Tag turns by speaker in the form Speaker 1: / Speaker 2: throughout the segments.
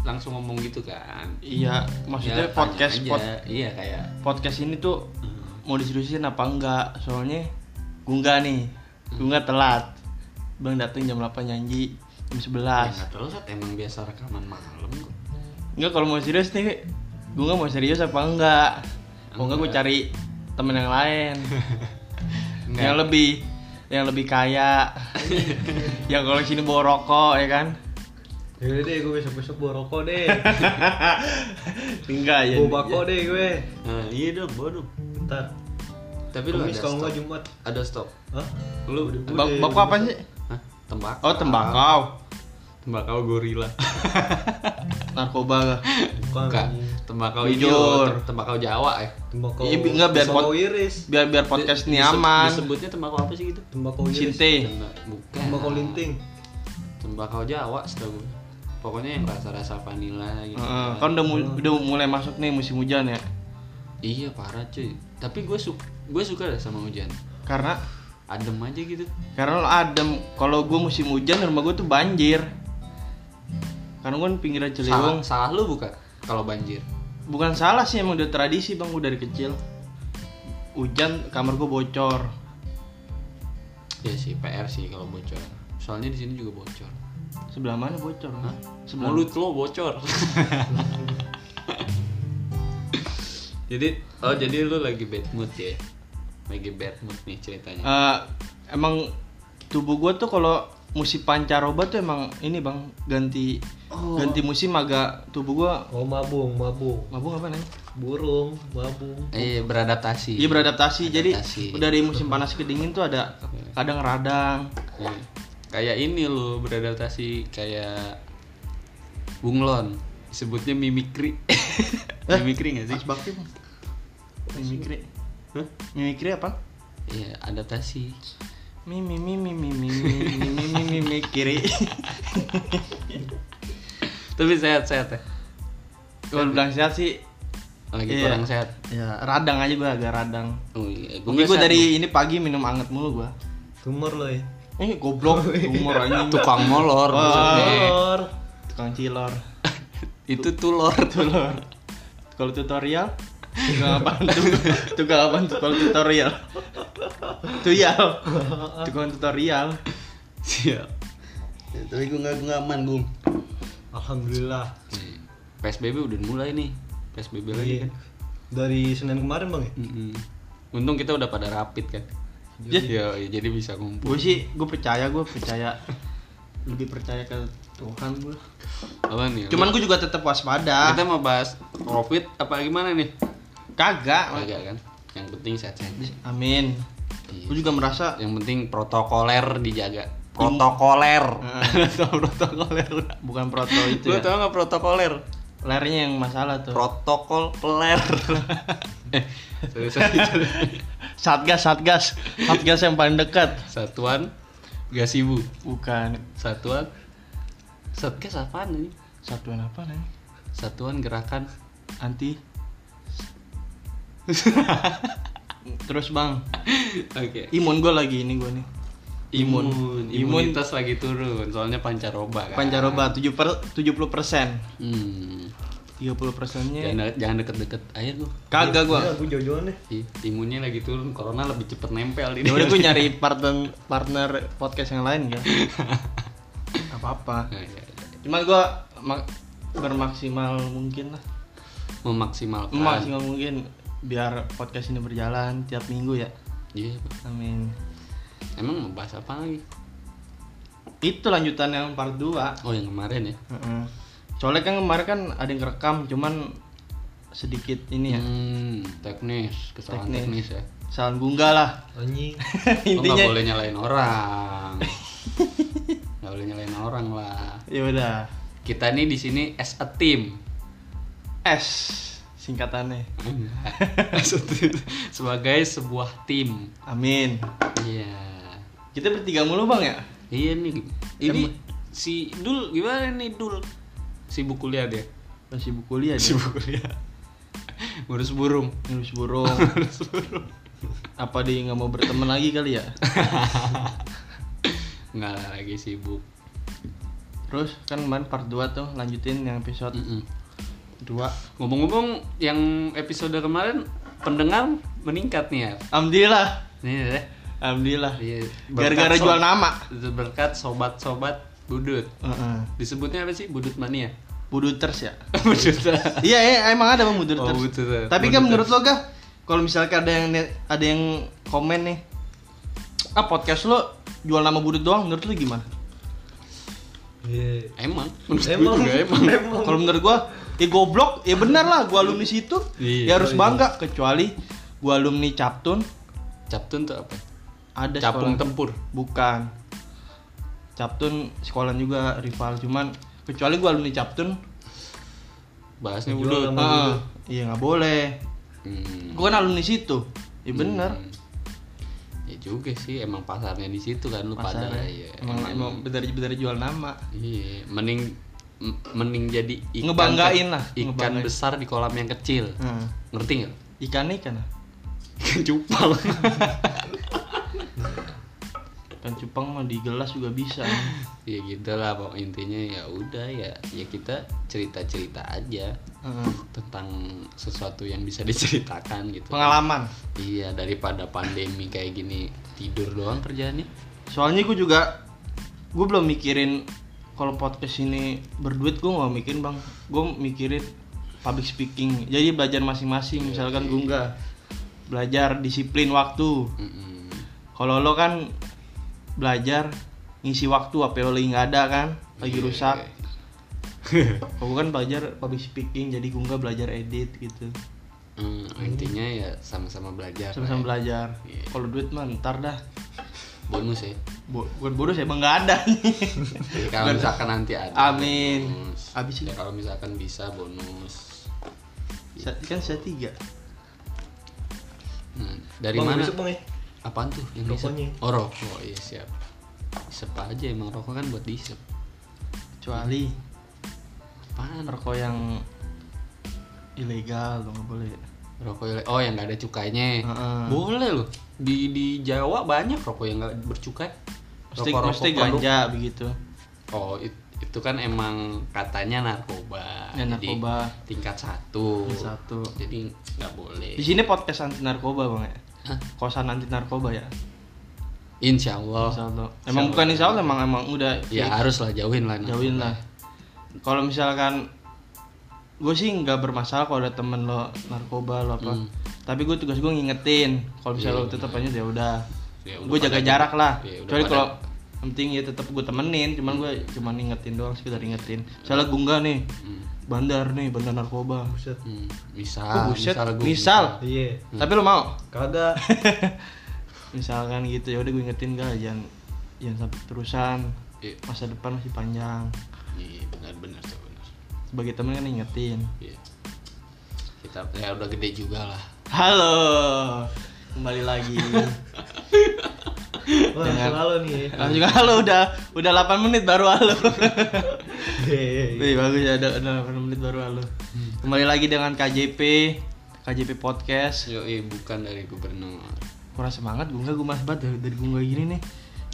Speaker 1: langsung ngomong gitu kan
Speaker 2: Iya,
Speaker 1: Ya,
Speaker 2: maksudnya
Speaker 1: tanya
Speaker 2: podcast
Speaker 1: aja.
Speaker 2: pod-
Speaker 1: iya kayak
Speaker 2: podcast ini tuh mau diseriusin apa enggak? Soalnya gue enggak nih. Gue enggak telat. Bang datang jam 8 nyanyi jam
Speaker 1: ah
Speaker 2: 11.
Speaker 1: nggak terlalu Sat. emang biasa rekaman malam kok
Speaker 2: Enggak kalau mau serius nih gue enggak mau serius apa enggak? Kalau enggak gue
Speaker 1: Enggak.
Speaker 2: cari temen yang lain.
Speaker 1: Enggak.
Speaker 2: yang lebih yang lebih kaya. yang kalau sini bawa rokok ya kan?
Speaker 3: Yaudah deh, gue besok-besok bawa rokok deh
Speaker 2: Enggak
Speaker 1: Iya,
Speaker 2: ya.
Speaker 3: Bawa bako deh gue
Speaker 1: Nah, iya dong bawa dong
Speaker 3: Ntar
Speaker 1: tapi lu ada
Speaker 3: Kamis kalau
Speaker 1: stok
Speaker 3: nggak Jumat
Speaker 1: ada stok
Speaker 3: Hah?
Speaker 1: lu
Speaker 2: Ba-
Speaker 3: Udah,
Speaker 2: Baku apa
Speaker 3: udah.
Speaker 2: sih?
Speaker 1: Hah? tembakau
Speaker 2: Oh, tembakau.
Speaker 1: tembakau gorila Ah.
Speaker 2: Narkoba.
Speaker 3: Bukan
Speaker 1: Bukan. tembakau ini
Speaker 2: Jujur.
Speaker 1: loh, tem- tembakau Jawa ya
Speaker 3: Tembakau
Speaker 2: Iya, bi- nggak, biar
Speaker 3: Tembakau
Speaker 2: pot-
Speaker 3: iris
Speaker 2: Biar biar podcast Eh. ini
Speaker 1: Diseb-
Speaker 2: aman.
Speaker 1: disebutnya tembakau apa sih gitu
Speaker 3: Tembakau iris
Speaker 2: Cinte.
Speaker 1: Temba- bukan
Speaker 3: Tembakau linting
Speaker 1: tembakau Jawa setahu gue pokoknya yang rasa-rasa vanila gitu
Speaker 2: Heeh, kan udah, mu- udah mulai masuk nih musim hujan ya.
Speaker 1: iya parah cuy tapi gue suka gue suka dah sama hujan
Speaker 2: Karena
Speaker 1: adem aja gitu
Speaker 2: karena lo adem. Kalau gue musim hujan rumah gue tuh banjir. Karena gue kan pinggiran
Speaker 1: salah,
Speaker 2: Ciliwung.
Speaker 1: salah lu bukan kalau banjir
Speaker 2: Bukan salah sih emang udah tradisi bang gue dari kecil. Hujan kamar gue bocor.
Speaker 1: ya sih PR sih kalau bocor soalnya di sini juga bocor
Speaker 2: Sebelah mana bocor?
Speaker 1: Hah?
Speaker 2: Sebelah
Speaker 1: mulut lo bocor jadi oh jadi lu lagi bad mood ya lagi bad mood nih ceritanya
Speaker 2: Eh, emang tubuh gue tuh kalau musim pancaroba tuh emang ini bang ganti
Speaker 1: Oh.
Speaker 2: ganti musim agak tubuh gue
Speaker 3: Oh mabung, mabung
Speaker 2: mabung apa nih?
Speaker 3: Burung, mabung
Speaker 1: eh beradaptasi
Speaker 2: Iya beradaptasi. Jadi
Speaker 1: Adaptasi.
Speaker 2: dari musim panas ke dingin tuh ada kadang radang.
Speaker 1: Iya. kayak ini lo beradaptasi kayak bunglon sebutnya mimikri mimikri nggak sih
Speaker 2: Mas Bakti Bang. mimikri.
Speaker 1: Hah?
Speaker 2: Mimikri apa?
Speaker 1: iya adaptasi
Speaker 2: Mimi mimi mimi mimi mimi mimikri.
Speaker 1: tapi sehat sehat ya
Speaker 2: Kalau bilang sehat sih
Speaker 1: lagi
Speaker 2: Iya.
Speaker 1: kurang sehat
Speaker 2: ya radang aja gua agak radang.
Speaker 1: oh, iya.
Speaker 2: Tapi
Speaker 1: nggak
Speaker 2: gua
Speaker 1: sehat,
Speaker 2: dari ini pagi minum anget mulu gua.
Speaker 3: Tumor lo ya
Speaker 2: Eh goblok, umur
Speaker 1: Bu.
Speaker 2: anjing.
Speaker 1: tukang molor
Speaker 2: Wah.
Speaker 1: maksudnya.
Speaker 3: Tumor
Speaker 2: Tukang cilor.
Speaker 1: itu tulor
Speaker 2: Tulor. Kalau tutorial Tukang apaan tuh? Tukang apaan tuh kalau tutorial? Tuyal. Tukang tutorial.
Speaker 1: siap Ya, tapi gue nggak gue aman bung
Speaker 3: Alhamdulillah
Speaker 1: psbb udah mulai nih psbb lagi
Speaker 3: Iya.
Speaker 1: kan
Speaker 3: Dari Senin kemarin bang ya?
Speaker 1: Mm-mm. untung kita udah pada rapid kan Iya, iya, jadi bisa ngumpul
Speaker 2: gue sih gue percaya gue percaya lebih percaya ke Tuhan gue
Speaker 1: apa nih
Speaker 2: cuman gue juga tetap waspada
Speaker 1: kita mau bahas covid apa gimana nih
Speaker 2: kagak
Speaker 1: agak kan yang penting sehat-sehat
Speaker 2: amin
Speaker 1: Iya.
Speaker 2: gue juga merasa
Speaker 1: yang penting protokoler dijaga protokoler Gitu
Speaker 2: tau protokoler ya, bukan proto itu
Speaker 1: lu
Speaker 2: ya
Speaker 1: tau Nah, nggak protokoler
Speaker 2: lernya yang masalah tuh
Speaker 1: protokol peler Eh, sorry, sorry, sorry.
Speaker 2: satgas satgas satgas yang paling dekat
Speaker 1: satuan gasibu
Speaker 2: bukan
Speaker 1: satuan satgas apaan ini
Speaker 2: satuan apa nih
Speaker 1: satuan gerakan
Speaker 2: anti terus bang
Speaker 1: oke
Speaker 2: imun gue lagi ini gue nih
Speaker 1: imun.
Speaker 2: Imun.
Speaker 1: imunitas lagi turun soalnya pancaroba kan
Speaker 2: pancaroba tujuh per tujuh puluh persen
Speaker 1: hmm.
Speaker 2: tiga puluh persennya
Speaker 1: jangan, jangan deket-deket air lu
Speaker 2: kagak gue
Speaker 3: Gue Iya, jauh-jauhan deh
Speaker 1: Ih, imunnya lagi turun corona lebih cepet nempel di
Speaker 2: Ya udah
Speaker 1: diri.
Speaker 2: gue nyari partner partner podcast yang lain ya. Apa apa.
Speaker 1: Nah, ya, ya.
Speaker 2: Cuman gue ma- bermaksimal mungkin lah.
Speaker 1: memaksimalkan
Speaker 2: Maksimal mungkin biar podcast ini berjalan tiap minggu ya.
Speaker 1: Iya, Pak.
Speaker 2: Amin.
Speaker 1: emang mau bahas apa lagi
Speaker 2: Itu lanjutan yang part 2.
Speaker 1: oh yang kemarin ya
Speaker 2: Heeh. Soalnya kan kemarin kan ada yang rekam cuman sedikit ini ya.
Speaker 1: Hmm, teknis kesalahan teknis,
Speaker 2: Teknis.
Speaker 1: ya
Speaker 2: Salam bunga lah.
Speaker 3: Anjing
Speaker 1: lo Oh, nggak
Speaker 2: Intinya
Speaker 1: boleh nyalain orang nggak boleh nyalain orang lah
Speaker 2: ya udah.
Speaker 1: kita nih di sini as a team
Speaker 2: S singkatannya.
Speaker 1: As a team. sebagai sebuah tim
Speaker 2: Amin.
Speaker 1: iya
Speaker 2: Kita bertiga mulu Bang ya?
Speaker 1: iya nih ini si dul gimana nih dul sibuk kuliah dia
Speaker 2: Masih buku kuliah ya? dia.
Speaker 1: sibuk kuliah ngurus burung
Speaker 2: Ngurus burung. Apa dia nggak mau berteman lagi kali ya?
Speaker 1: nggak lagi sibuk
Speaker 2: Terus kan kemarin part 2 tuh lanjutin yang episode
Speaker 1: Mm-mm.
Speaker 2: 2
Speaker 1: Ngomong-ngomong yang episode kemarin pendengar meningkat nih ya.
Speaker 2: Alhamdulillah
Speaker 1: Nih deh.
Speaker 2: Alhamdulillah
Speaker 1: Iya,
Speaker 2: Gara-gara
Speaker 1: berkat,
Speaker 2: jual
Speaker 1: Sob.
Speaker 2: nama
Speaker 1: Itu Berkat sobat-sobat budut.
Speaker 2: Heeh.
Speaker 1: Disebutnya apa sih? Budut mania.
Speaker 2: Buduters ya
Speaker 1: budut.
Speaker 2: Iya iya emang ada bang Buduters,
Speaker 1: Oh, Buduters.
Speaker 2: Tapi kan
Speaker 1: Buduters.
Speaker 2: menurut lo gak kalau misalkan ada yang net- ada yang komen nih Ah podcast lo jual nama budut doang menurut lo gimana?
Speaker 3: Iya.
Speaker 1: Emang. Menurut gue
Speaker 3: Emang,
Speaker 1: juga emang.
Speaker 3: emang.
Speaker 2: Kalau menurut gua ya goblok, ya benar lah gua alumni situ.
Speaker 1: Iya.
Speaker 2: ya harus bangga kecuali gua alumni Captun
Speaker 1: Captun tuh apa?
Speaker 2: ada
Speaker 1: Capung
Speaker 2: sekolah-
Speaker 1: tempur.
Speaker 2: Bukan. Captun sekolah juga rival cuman kecuali gua alumni Captun
Speaker 1: Bahasnya
Speaker 3: Jual
Speaker 1: budut.
Speaker 3: nama.
Speaker 2: ah, iya nggak boleh.
Speaker 1: Hmm.
Speaker 2: Gua kan alumni situ. Ya benar.
Speaker 1: Hmm. Ya juga sih emang pasarnya di situ kan lu
Speaker 2: Pasarnya.
Speaker 1: pada ya.
Speaker 2: emang emang benar-benar jual nama.
Speaker 1: Iya, mending m- mending jadi ikan
Speaker 2: Ngebanggain
Speaker 1: ke-
Speaker 2: lah,
Speaker 1: Ikan
Speaker 2: ngebanggain.
Speaker 1: besar di kolam yang kecil.
Speaker 2: Nah,
Speaker 1: Ngerti nggak?
Speaker 2: ikan ikan ah.
Speaker 1: Ikan cupang.
Speaker 2: ikan cupang mah di gelas juga bisa.
Speaker 1: ya gitu lah pokok intinya ya udah ya ya kita cerita cerita aja
Speaker 2: Heeh.
Speaker 1: tentang sesuatu yang bisa diceritakan gitu
Speaker 2: pengalaman.
Speaker 1: iya daripada pandemi kayak gini tidur doang kerjaannya
Speaker 2: Soalnya gue juga gue belum mikirin kalau podcast ini berduit gue nggak mikirin bang. Gue mikirin public speaking. Jadi belajar masing-masing. Misalkan gue nggak belajar disiplin waktu.
Speaker 1: Mm-mm.
Speaker 2: Kalau lo kan belajar ngisi waktu apa yang lo lagi nggak ada kan lagi
Speaker 1: Iya.
Speaker 2: rusak. Kalau gue kan belajar public speaking jadi gue nggak belajar edit gitu.
Speaker 1: Hmm, intinya ya sama-sama belajar
Speaker 2: Iya.
Speaker 1: lah
Speaker 2: Sama-sama belajar.
Speaker 1: Iya.
Speaker 2: Kalau duit mah ntar dah.
Speaker 1: ya. bonus ya
Speaker 2: Bo- bukan bodoh saya emang nggak ada nih.
Speaker 1: Jadi kalau misalkan nanti ada
Speaker 2: Amin.
Speaker 1: bonus.
Speaker 2: Habis ini.
Speaker 1: ya kalau misalkan bisa bonus
Speaker 2: Sa- kan saya tiga.
Speaker 1: Hmm, dari mana
Speaker 3: Bang, besok, Bang, ya?
Speaker 1: apaan tuh yang dihisap?
Speaker 3: Rokoknya.
Speaker 1: oh rokok oh, iya siap isep aja emang rokok kan buat dihisap
Speaker 2: Kecuali
Speaker 1: apaan
Speaker 2: rokok yang ilegal lo nggak boleh.
Speaker 1: rokok ele- oh yang nggak ada cukainya
Speaker 2: Heeh.
Speaker 1: boleh loh di di Jawa banyak rokok yang nggak bercukai
Speaker 2: Mesti
Speaker 1: Rokok-rokok
Speaker 2: mesti
Speaker 1: produk-
Speaker 2: ganja begitu.
Speaker 1: oh it- itu kan emang katanya narkoba
Speaker 2: Ya,
Speaker 1: Ah, Jadi Iya.
Speaker 2: narkoba.
Speaker 1: tingkat satu
Speaker 2: Tingkat satu. Iya.
Speaker 1: jadi nggak boleh
Speaker 2: Di sini podcast anti narkoba bang ya.
Speaker 1: Hah?
Speaker 2: Kosan anti narkoba ya.
Speaker 1: Insya Oh. Allah
Speaker 2: Insya Allah. Emang bukan insya Allah emang emang udah
Speaker 1: ya harus lah jauhin lah narkoba.
Speaker 2: Iya. jauhin lah. Kalau misalkan gue sih nggak bermasalah kalau ada temen lo narkoba lo apa.
Speaker 1: Hmm.
Speaker 2: Tapi gue tugas gue ngingetin kalau misalnya
Speaker 1: Iya,
Speaker 2: lo tetap aja ya udah.
Speaker 1: Ya, udah
Speaker 2: gue jaga
Speaker 1: pada-
Speaker 2: jarak lah
Speaker 1: Iya, udah
Speaker 2: kecuali
Speaker 1: pada-
Speaker 2: kalau yang penting ya tetap gue temenin cuman gue cuman ingetin doang sekedar ingetin misalnya gue enggak nih
Speaker 1: Hmm,
Speaker 2: bandar nih bandar narkoba
Speaker 3: Buset.
Speaker 1: hmm. misal
Speaker 2: Oh, buset.
Speaker 1: misal gua-
Speaker 2: Misal.
Speaker 3: Iya.
Speaker 2: tapi lo mau
Speaker 3: Kagak.
Speaker 2: misalkan gitu ya udah gue ingetin gak jangan jangan sampai terusan
Speaker 1: Iya,
Speaker 2: masa depan masih panjang
Speaker 1: iya benar-benar tuh benar.
Speaker 2: sebagai temen kan ingetin
Speaker 1: Iya. Kita ya udah gede juga lah.
Speaker 2: halo kembali lagi
Speaker 3: Wah,
Speaker 2: Dengan-
Speaker 3: selalu nih. ya.
Speaker 2: langsung halo udah udah 8 menit baru halo
Speaker 3: Iya, iya, Hmm. iya.
Speaker 2: Wih bagus ya ada ada 8 menit baru halo kembali lagi dengan KJP KJP podcast
Speaker 1: Yo, bukan dari gubernur.
Speaker 2: kurang semangat gue nggak gue mas banget dari, dari gue gini nih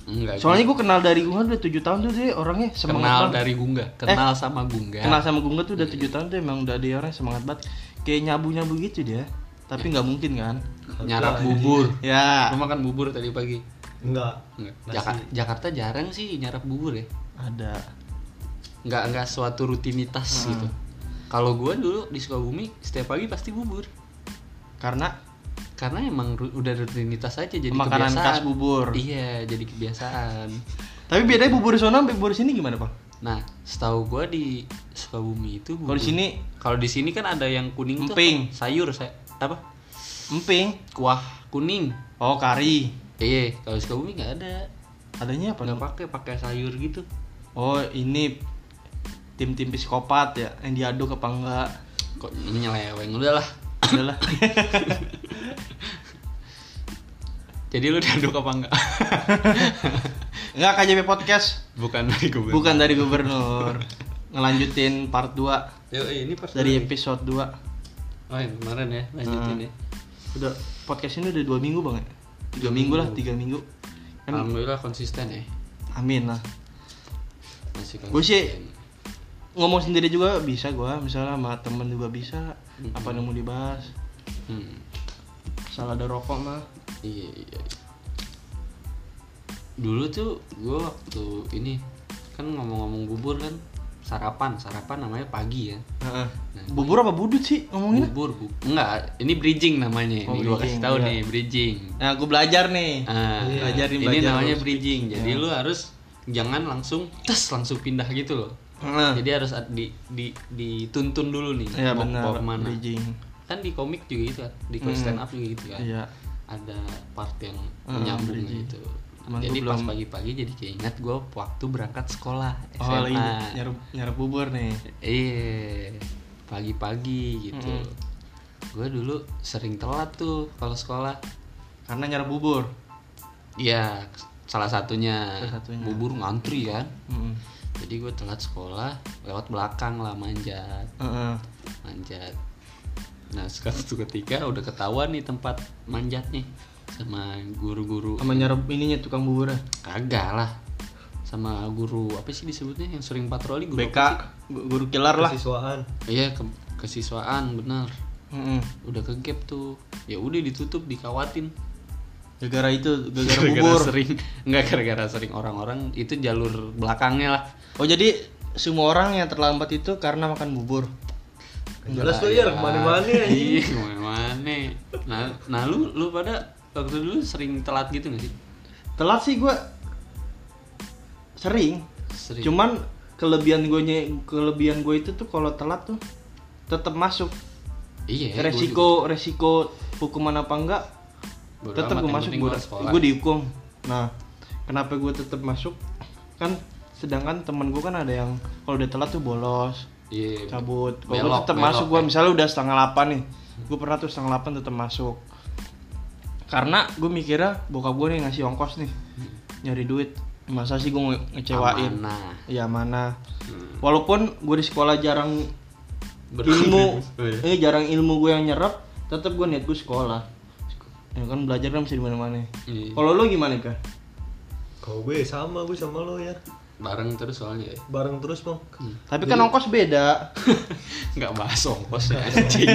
Speaker 1: Enggak.
Speaker 2: soalnya gue kenal dari gue udah tujuh tahun tuh dia orangnya semangat
Speaker 1: kenal
Speaker 2: banget Eh,
Speaker 1: dari Gungga, kenal sama
Speaker 3: kan.
Speaker 1: Gungga.
Speaker 2: kenal sama gue tuh udah tujuh tahun tuh emang udah dia orang semangat banget kayak nyabu nyabu gitu dia tapi nggak mungkin kan
Speaker 1: Nyarap bubur.
Speaker 2: ya
Speaker 1: Lu makan bubur tadi pagi.
Speaker 3: Enggak.
Speaker 1: Enggak.
Speaker 3: Nasi.
Speaker 1: Jaka- Jakarta jarang sih nyarap bubur ya.
Speaker 2: ada
Speaker 1: Enggak enggak suatu rutinitas gitu. Kalau gua dulu di Sukabumi setiap pagi pasti bubur.
Speaker 2: karena
Speaker 1: Karena emang ru- udah rutinitas aja jadi
Speaker 2: Makanan
Speaker 1: kebiasaan.
Speaker 2: khas bubur.
Speaker 1: Iya, jadi kebiasaan.
Speaker 2: tapi bedanya bubur sana sama bubur sini gimana bang
Speaker 1: Nah, setahu gua di Sukabumi itu bubur-
Speaker 2: Kalau di sini?
Speaker 1: kalau di sini kan ada yang kuning tuh
Speaker 2: Emping.
Speaker 1: apa? sayur saya apa?
Speaker 2: emping
Speaker 1: Kuah kuning.
Speaker 2: oh kari
Speaker 1: Iya, kalau di Sukabumi nggak ada.
Speaker 2: adanya apa
Speaker 1: Nggak
Speaker 2: Bang?
Speaker 1: pakai pakai sayur gitu.
Speaker 2: oh ini tim-tim psikopat ya yang diaduk apa enggak
Speaker 1: Kok menyeleweng udah lah.
Speaker 2: adalah
Speaker 1: Jadi lu diaduk apa enggak?
Speaker 2: enggak KJP podcast
Speaker 1: Bukan dari gue.
Speaker 2: Bukan dari gubernur. Ngelanjutin part 2
Speaker 1: Yo, ini pas
Speaker 2: dari episode 2.
Speaker 1: Oh, yang kemarin ya, lanjutin ya.
Speaker 2: Udah podcast ini udah dua minggu, Bang ya? Tiga minggu lah, tiga minggu. Kan
Speaker 1: Alhamdulillah konsisten ya.
Speaker 2: amin lah.
Speaker 1: masih
Speaker 2: Gua sih- ngomong sendiri juga bisa gua misalnya sama temen juga bisa
Speaker 1: Mhm.
Speaker 2: apa yang mau dibahas
Speaker 1: hmm.
Speaker 2: salah ada rokok mah
Speaker 1: Iya, iya. Dulu tuh gue waktu ini kan ngomong-ngomong bubur kan sarapan, sarapan namanya pagi ya.
Speaker 2: Heeh.
Speaker 1: Nah,
Speaker 2: bubur apa budut sih ngomongnya
Speaker 1: Bubur, bu enggak, ini bridging namanya.
Speaker 2: Oh,
Speaker 1: ini gue
Speaker 2: bridging,
Speaker 1: kasih tahu
Speaker 2: iya.
Speaker 1: nih bridging.
Speaker 2: nah gua belajar nih
Speaker 1: Ah,
Speaker 3: Iya.
Speaker 2: Belajarin,
Speaker 1: ini
Speaker 2: belajar
Speaker 1: namanya
Speaker 2: harus. Iya.
Speaker 1: bridging. Jadi lu harus jangan langsung tes langsung pindah gitu loh.
Speaker 2: Heeh.
Speaker 1: Jadi harus ad- di, di, dituntun dulu nih
Speaker 2: ya
Speaker 1: mau
Speaker 2: benar
Speaker 1: mau kemana.
Speaker 2: bridging
Speaker 1: Kan di komik juga gitu kan, di komik
Speaker 2: Hmm.
Speaker 1: stand up juga gitu kan.
Speaker 2: iya
Speaker 1: Ada part yang
Speaker 2: Hmm,
Speaker 1: menyambung
Speaker 2: bridging.
Speaker 1: gitu.
Speaker 2: Cuman
Speaker 1: jadi
Speaker 2: gua
Speaker 1: pas
Speaker 2: belum-
Speaker 1: pagi-pagi jadi keinget gue waktu berangkat sekolah
Speaker 2: oh
Speaker 1: SMA.
Speaker 2: lagi nyarap nyarap bubur nih
Speaker 1: Iya, pagi-pagi gitu.
Speaker 2: Mm-mm.
Speaker 1: Gue dulu sering telat tuh kalau sekolah.
Speaker 2: karena nyarap bubur
Speaker 1: Iya, salah satunya,
Speaker 2: Salah satunya.
Speaker 1: bubur ngantri kan.
Speaker 2: Heeh.
Speaker 1: Jadi gue telat sekolah lewat belakang lah manjat,
Speaker 2: Heeh.
Speaker 1: manjat. Nah suatu ketika udah ketahuan nih tempat manjat nih sama guru-guru
Speaker 2: sama nyarap ininya tukang bubur
Speaker 1: kagak lah sama guru apa sih disebutnya yang sering patroli guru
Speaker 2: BK
Speaker 1: apa
Speaker 2: gu- guru killer lah
Speaker 3: Kesiswaan.
Speaker 1: sih? iya ke- kesiswaan benar
Speaker 2: Heeh.
Speaker 1: udah ke gap tuh ya udah ditutup dikawatin
Speaker 2: gara-gara itu gara-gara
Speaker 1: Gara-gara
Speaker 2: bubur
Speaker 1: sering nggak gara-gara sering orang-orang itu jalur belakangnya lah
Speaker 2: oh jadi semua orang yang terlambat itu karena makan bubur
Speaker 3: Jelas tuh ya, kemana-mana
Speaker 1: Nah, iya kemana-mana nah, nah lu lu pada waktu dulu sering telat gitu gak sih
Speaker 2: telat sih gua sering,
Speaker 1: sering
Speaker 2: cuman kelebihan gue kelebihan gue itu tuh kalau telat tuh tetap masuk
Speaker 1: iya gua
Speaker 2: resiko resiko hukuman apa enggak
Speaker 1: juga. Bodo
Speaker 2: tetap
Speaker 1: amat,
Speaker 2: gue
Speaker 1: yang
Speaker 2: masuk
Speaker 1: penting
Speaker 2: gue
Speaker 1: gua sekolah
Speaker 2: gue dihukum nah kenapa gue tetap masuk kan sedangkan teman gue kan ada yang kalau udah telat tuh bolos
Speaker 1: iya
Speaker 2: cabut kalau gue
Speaker 1: Belok,
Speaker 2: tetap
Speaker 1: belok,
Speaker 2: masuk gue
Speaker 1: eh.
Speaker 2: misalnya udah setengah delapan nih gue pernah tuh setengah delapan tetap masuk karena gue mikirnya bokap gue nih ngasih ongkos nih nyari duit masa sih gue ngecewain
Speaker 1: Amanah.
Speaker 2: ya mana
Speaker 1: Hmm.
Speaker 2: walaupun gue di sekolah jarang ilmu
Speaker 1: Berkontribusi. Oh, iya.
Speaker 2: eh jarang ilmu gue yang nyerap tetap gue niat gue sekolah ya kan belajar kan bisa di mana mana
Speaker 1: Iya.
Speaker 2: kalau lo gimana kan
Speaker 3: Kalau gue sama, gue sama lo ya.
Speaker 1: bareng terus soalnya ya.
Speaker 3: Bareng terus, Bang.
Speaker 2: tapi kan ongkos beda
Speaker 1: nggak bahas ongkos ya anjing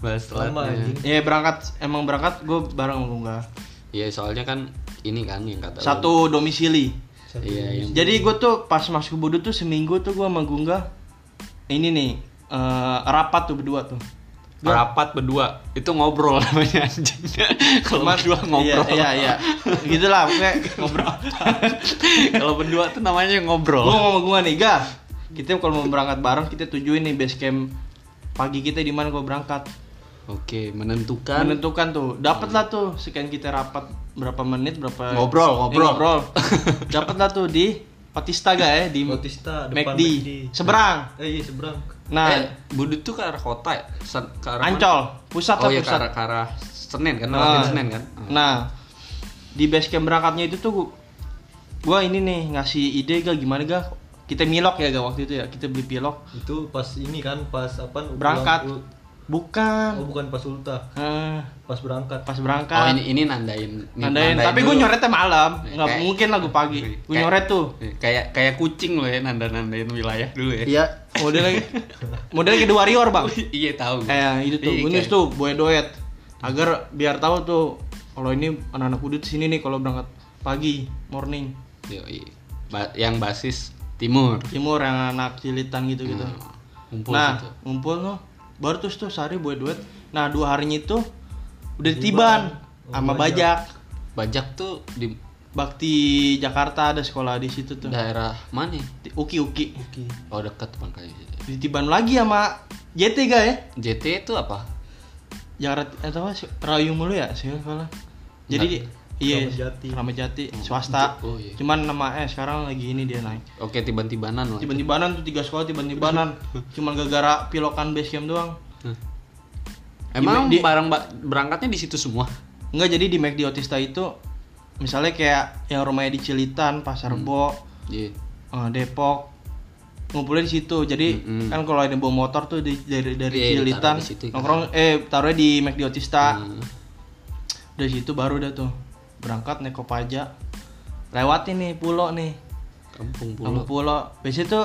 Speaker 1: bahas
Speaker 3: Sama
Speaker 1: telatnya
Speaker 3: anjing.
Speaker 2: ya berangkat emang berangkat gue bareng sama gue
Speaker 1: iya soalnya kan ini kan yang kata lu.
Speaker 2: satu domisili
Speaker 3: Satu
Speaker 1: iya yang
Speaker 2: Jadi gue tuh pas masuk ke Budut tuh seminggu tuh gue sama Gungga ini nih eh, rapat tuh berdua tuh.
Speaker 1: rapat berdua itu ngobrol namanya anjing kalau berdua ngobrol
Speaker 2: Iya iya. iya. gitu lah pokoknya ngobrol.
Speaker 1: kalau berdua tuh namanya
Speaker 2: gue
Speaker 1: ngobrol
Speaker 2: sama Gungga nih, Ga. Kita kalau mau berangkat bareng kita tujuin nih base camp pagi kita di mana gue berangkat.
Speaker 1: oke menentukan
Speaker 2: Menentukan tuh, dapat lah tuh sekian kita rapat berapa menit berapa
Speaker 1: Ngobrol,
Speaker 2: Eh,
Speaker 1: ngobrol.
Speaker 2: ngobrol. dapat lah tuh di Patista ga ya di
Speaker 3: Bautista depan
Speaker 2: McD. Seberang.
Speaker 3: Eh, iya, seberang.
Speaker 2: Nah,
Speaker 1: eh, budut tuh ke arah kota ya? Sen- ke arah mana?
Speaker 2: Ancol, pusat
Speaker 1: oh
Speaker 2: lah
Speaker 1: iya ke
Speaker 2: pusat.
Speaker 1: arah, ke arah Senen kan lewatin
Speaker 2: Nah.
Speaker 1: Senen kan
Speaker 2: Nah, di base camp berangkatnya itu tuh gua- gua ini nih ngasih ide ga gimana ga kita milok ya ga waktu itu ya kita beli pilok
Speaker 3: Itu pas ini kan, pas apa? ulang-
Speaker 2: berangkat
Speaker 3: ul- Oh,
Speaker 2: bukan
Speaker 3: bukan pas ulta,
Speaker 2: Eh,
Speaker 3: pas berangkat.
Speaker 2: pas
Speaker 1: oh
Speaker 2: berangkat
Speaker 1: ini ini nandain ini
Speaker 2: Kan. nandain tapi gue
Speaker 1: dulu.
Speaker 2: nyoretnya malam
Speaker 1: Iya,
Speaker 2: nggak
Speaker 1: kayak-
Speaker 2: mungkin lah gue pagi gue
Speaker 1: Kayak-
Speaker 2: nyoret tuh
Speaker 1: Iya, kayak kayak kucing lo ya nanda nandain wilayah dulu ya
Speaker 2: iya modelnya modelnya kayak The warrior bang
Speaker 1: iya tahu
Speaker 2: kayak itu tuh
Speaker 1: Iya,
Speaker 2: gue nulis
Speaker 1: kayak-
Speaker 2: tuh boy doet agar biar tahu tuh kalau ini anak-anak udut sini nih kalau berangkat pagi morning
Speaker 1: Yoi. Ba- yang basis timur
Speaker 2: timur yang anak cilitan gitu gitu
Speaker 1: Nah, kumpul
Speaker 2: nah,
Speaker 1: gitu.
Speaker 2: ngumpul tuh. Baru terus tuh sehari buat duet. Nah, dua harinya itu udah ditiban
Speaker 3: Oh,
Speaker 2: sama
Speaker 3: Bajak.
Speaker 2: Bajak.
Speaker 1: Bajak tuh di
Speaker 2: Bakti Jakarta ada sekolah di situ tuh.
Speaker 1: daerah mana?
Speaker 2: Uki-uki.
Speaker 3: Oke.
Speaker 1: Oh dekat makanya.
Speaker 2: Ditiban lagi sama JT ga ya?
Speaker 1: JT itu apa?
Speaker 2: Jakarta atau apa sih? Rayu mulu ya sih sekolah. Jadi iya
Speaker 3: Ramadjati.
Speaker 2: Ramadjati, swasta.
Speaker 1: Oh, iya.
Speaker 2: Cuman nama eh sekarang lagi ini dia naik.
Speaker 1: Oke tiban-tibanan lah.
Speaker 2: Tiban-tibanan tuh tiga sekolah tiban-tibanan. Cuman gara-gara pilokan base camp doang.
Speaker 1: Hah. Emang
Speaker 2: Di- di-
Speaker 1: barang ba- berangkatnya di situ semua?
Speaker 2: Enggak jadi di McD Otista itu misalnya kayak yang rumahnya di Cilitan, Pasar Bo,
Speaker 1: Iya.
Speaker 2: eh, Depok ngumpulnya di situ. Jadi
Speaker 1: Mm-mm.
Speaker 2: kan kalau ada bawa motor tuh di- dari dari
Speaker 1: Hmm, Iya,
Speaker 2: Cilitan
Speaker 1: ditaruh di situ, kan.
Speaker 2: nongkrong eh taruhnya di McD Otista.
Speaker 1: Nah,
Speaker 2: Dari situ baru udah tuh berangkat naik Kopaja. Lewat ini pulau nih.
Speaker 1: Kampung pulau.
Speaker 2: Kamu pulau. Biasanya tuh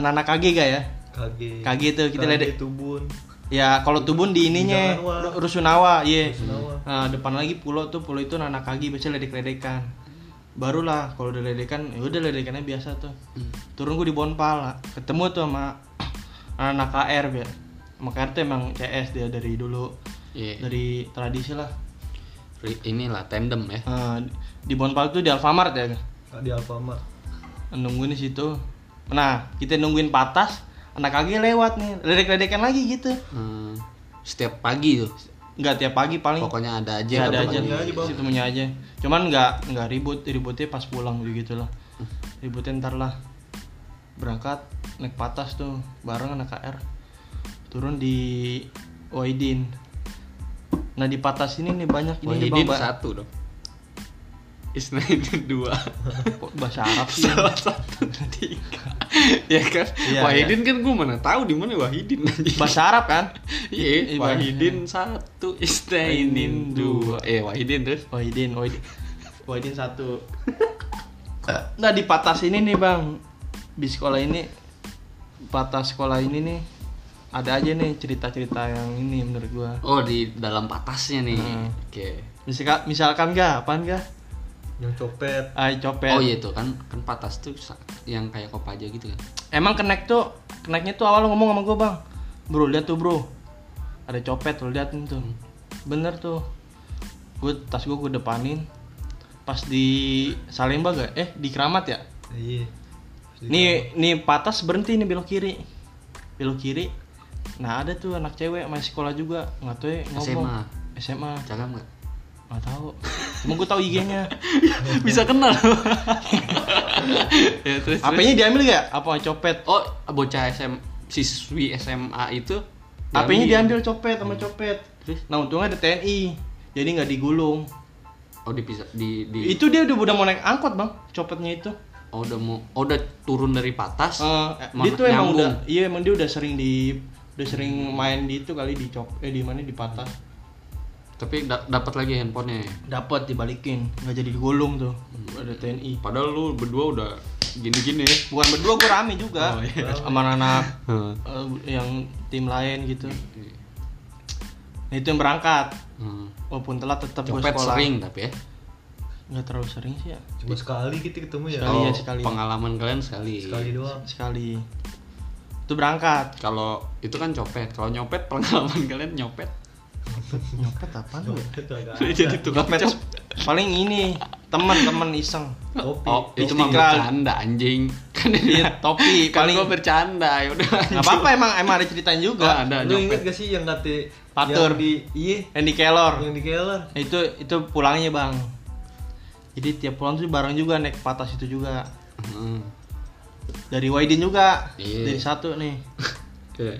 Speaker 2: anak-anak KG gak ya?
Speaker 3: Kage.
Speaker 2: KG tuh kita
Speaker 3: Kage
Speaker 2: ledek.
Speaker 3: tubun.
Speaker 2: Ya kalau tubun di ininya
Speaker 3: Rusunawa.
Speaker 2: Ru- Rusunawa, iya.
Speaker 3: Rusunawa.
Speaker 2: Nah, depan lagi pulau tuh pulau itu anak kaki biasanya ledek-ledekan. Barulah kalau udah ledekan, ya udah ledekannya biasa tuh. Turun gue di Bonpala, ketemu tuh sama anak KR ya. Sama KR tuh emang CS dia dari dulu,
Speaker 1: Iya.
Speaker 2: dari tradisi lah.
Speaker 1: Ri- Inilah tandem ya.
Speaker 2: Eh, di Bonpala tuh di Alfamart ya.
Speaker 3: Kak di Alfamart.
Speaker 2: Nungguin di situ. Nah, kita nungguin patas, anak kaki lewat nih, ledek-ledekan lagi gitu.
Speaker 1: Hmm, setiap pagi tuh.
Speaker 2: Nggak tiap pagi paling.
Speaker 1: Pokoknya ada aja.
Speaker 2: Ya, ada
Speaker 1: ketemu.
Speaker 2: aja,
Speaker 3: Temunya aja, Bang.
Speaker 2: Si temunya aja. Cuman nggak nggak ribut, ributnya pas pulang gitu lah. Ributnya ntar lah. Berangkat naik patas tuh bareng anak KR. Turun di Waidin. Nah di patas ini nih banyak ini nih,
Speaker 1: Wahidin
Speaker 2: Bang, Ba-
Speaker 1: satu dong. Isnaidin dua.
Speaker 2: Kok bahasa Arab sih. ya?
Speaker 1: Salah satu tiga. ya kan?
Speaker 2: Iya,
Speaker 1: Wahidin kan gue mana tahu di mana Wahidin anjing.
Speaker 2: bahasa Arab kan?
Speaker 1: Iya,
Speaker 2: Iya,
Speaker 1: Wahidin satu, Isnaidin dua. Eh, Wahidin terus.
Speaker 2: Wahidin, Wahidin. Wahidin satu.
Speaker 1: Eh,
Speaker 2: Nah di patas ini nih bang, di sekolah ini, patas sekolah ini nih, ada aja nih cerita-cerita yang ini menurut gua.
Speaker 1: Oh, di dalam patasnya nih.
Speaker 2: Hmm.
Speaker 1: Oke.
Speaker 2: Misalkan, misalkan gak, apaan gak?
Speaker 3: Yang copet.
Speaker 2: Ay, copet.
Speaker 1: Oh iya tuh kan kan patas tuh sa- yang kayak kopaja gitu kan.
Speaker 2: Emang kenek tuh, keneknya tuh awal ngomong sama gua bang, bro lihat tuh bro, ada copet lo lihat tuh, bener tuh. Gue tas gua gue depanin, pas di Salemba gak? Eh di Keramat ya?
Speaker 3: Iya.
Speaker 1: Iya.
Speaker 2: Nih, nih patas berhenti nih belok kiri. Belok kiri. Nah, ada tuh anak cewek masih sekolah juga, nggak tahu ya ngomong. SMA.
Speaker 1: Cakap nggak?
Speaker 2: Nggak tahu. Cuma gue tahu IG-nya.
Speaker 1: Bisa kenal. ya, terus, terus.
Speaker 2: HP-nya diambil nggak? Apa copet?
Speaker 1: Oh, bocah SM siswi SMA itu
Speaker 2: HP-nya
Speaker 1: diambil. Hmm.
Speaker 2: diambil copet sama copet.
Speaker 1: Terus?
Speaker 2: Nah, untungnya ada TNI. Jadi nggak digulung.
Speaker 1: Oh, dipisah di di
Speaker 2: Itu dia udah udah mau naik angkot, Bang. Copetnya itu.
Speaker 1: Oh, udah mau oh, udah turun dari patas.
Speaker 2: Eh,
Speaker 1: mau
Speaker 2: dia tuh
Speaker 1: nyambung.
Speaker 2: emang udah iya emang dia udah sering di udah sering main di itu kali di cop eh di mana di patah.
Speaker 1: Tapi da- dapat lagi handphonenya.
Speaker 2: Dapat dibalikin, nggak jadi digulung tuh. Ada TNI.
Speaker 1: Padahal lu berdua udah gini-gini ya.
Speaker 2: bukan berdua gue rame juga
Speaker 1: Oh, iya.
Speaker 2: sama anak
Speaker 1: Heeh.
Speaker 2: eh, yang tim lain gitu nah, itu yang berangkat
Speaker 1: Hmm.
Speaker 2: walaupun telat tetap gue
Speaker 1: Copet
Speaker 2: sekolah
Speaker 1: sering tapi ya.
Speaker 2: nggak terlalu sering sih ya
Speaker 3: Cuma sekali kita ketemu ya. Oh,
Speaker 2: Sekali. ya, sekali.
Speaker 1: Pengalaman kalian sekali.
Speaker 3: Sekali doang.
Speaker 2: sekali itu berangkat
Speaker 1: Kalau itu kan copet, kalau nyopet pengalaman kalian nyopet.
Speaker 2: nyopet apa ya
Speaker 3: Copet agak.
Speaker 1: Jadi tukang
Speaker 2: nyopet
Speaker 1: copet.
Speaker 2: paling ini teman-teman iseng
Speaker 3: Kopi.
Speaker 1: Oh, itu mah
Speaker 2: Istiqlal.
Speaker 1: bercanda anjing. Kan ini
Speaker 2: Iya, topi
Speaker 1: kan
Speaker 2: paling
Speaker 1: gua bercanda ya udah.
Speaker 2: nggak apa-apa emang emang ada ceritanya juga
Speaker 1: Oh, ada.
Speaker 3: Lu inget gak sih yang kata
Speaker 2: Patur.
Speaker 3: yang di iya
Speaker 2: yang di kelor
Speaker 3: yang di Keller
Speaker 2: Nah, itu itu pulangnya bang jadi tiap pulang tuh bareng juga naik patas itu juga
Speaker 1: Heeh.
Speaker 2: dari Waidin juga
Speaker 1: Iya.
Speaker 2: dari satu nih
Speaker 1: Iya.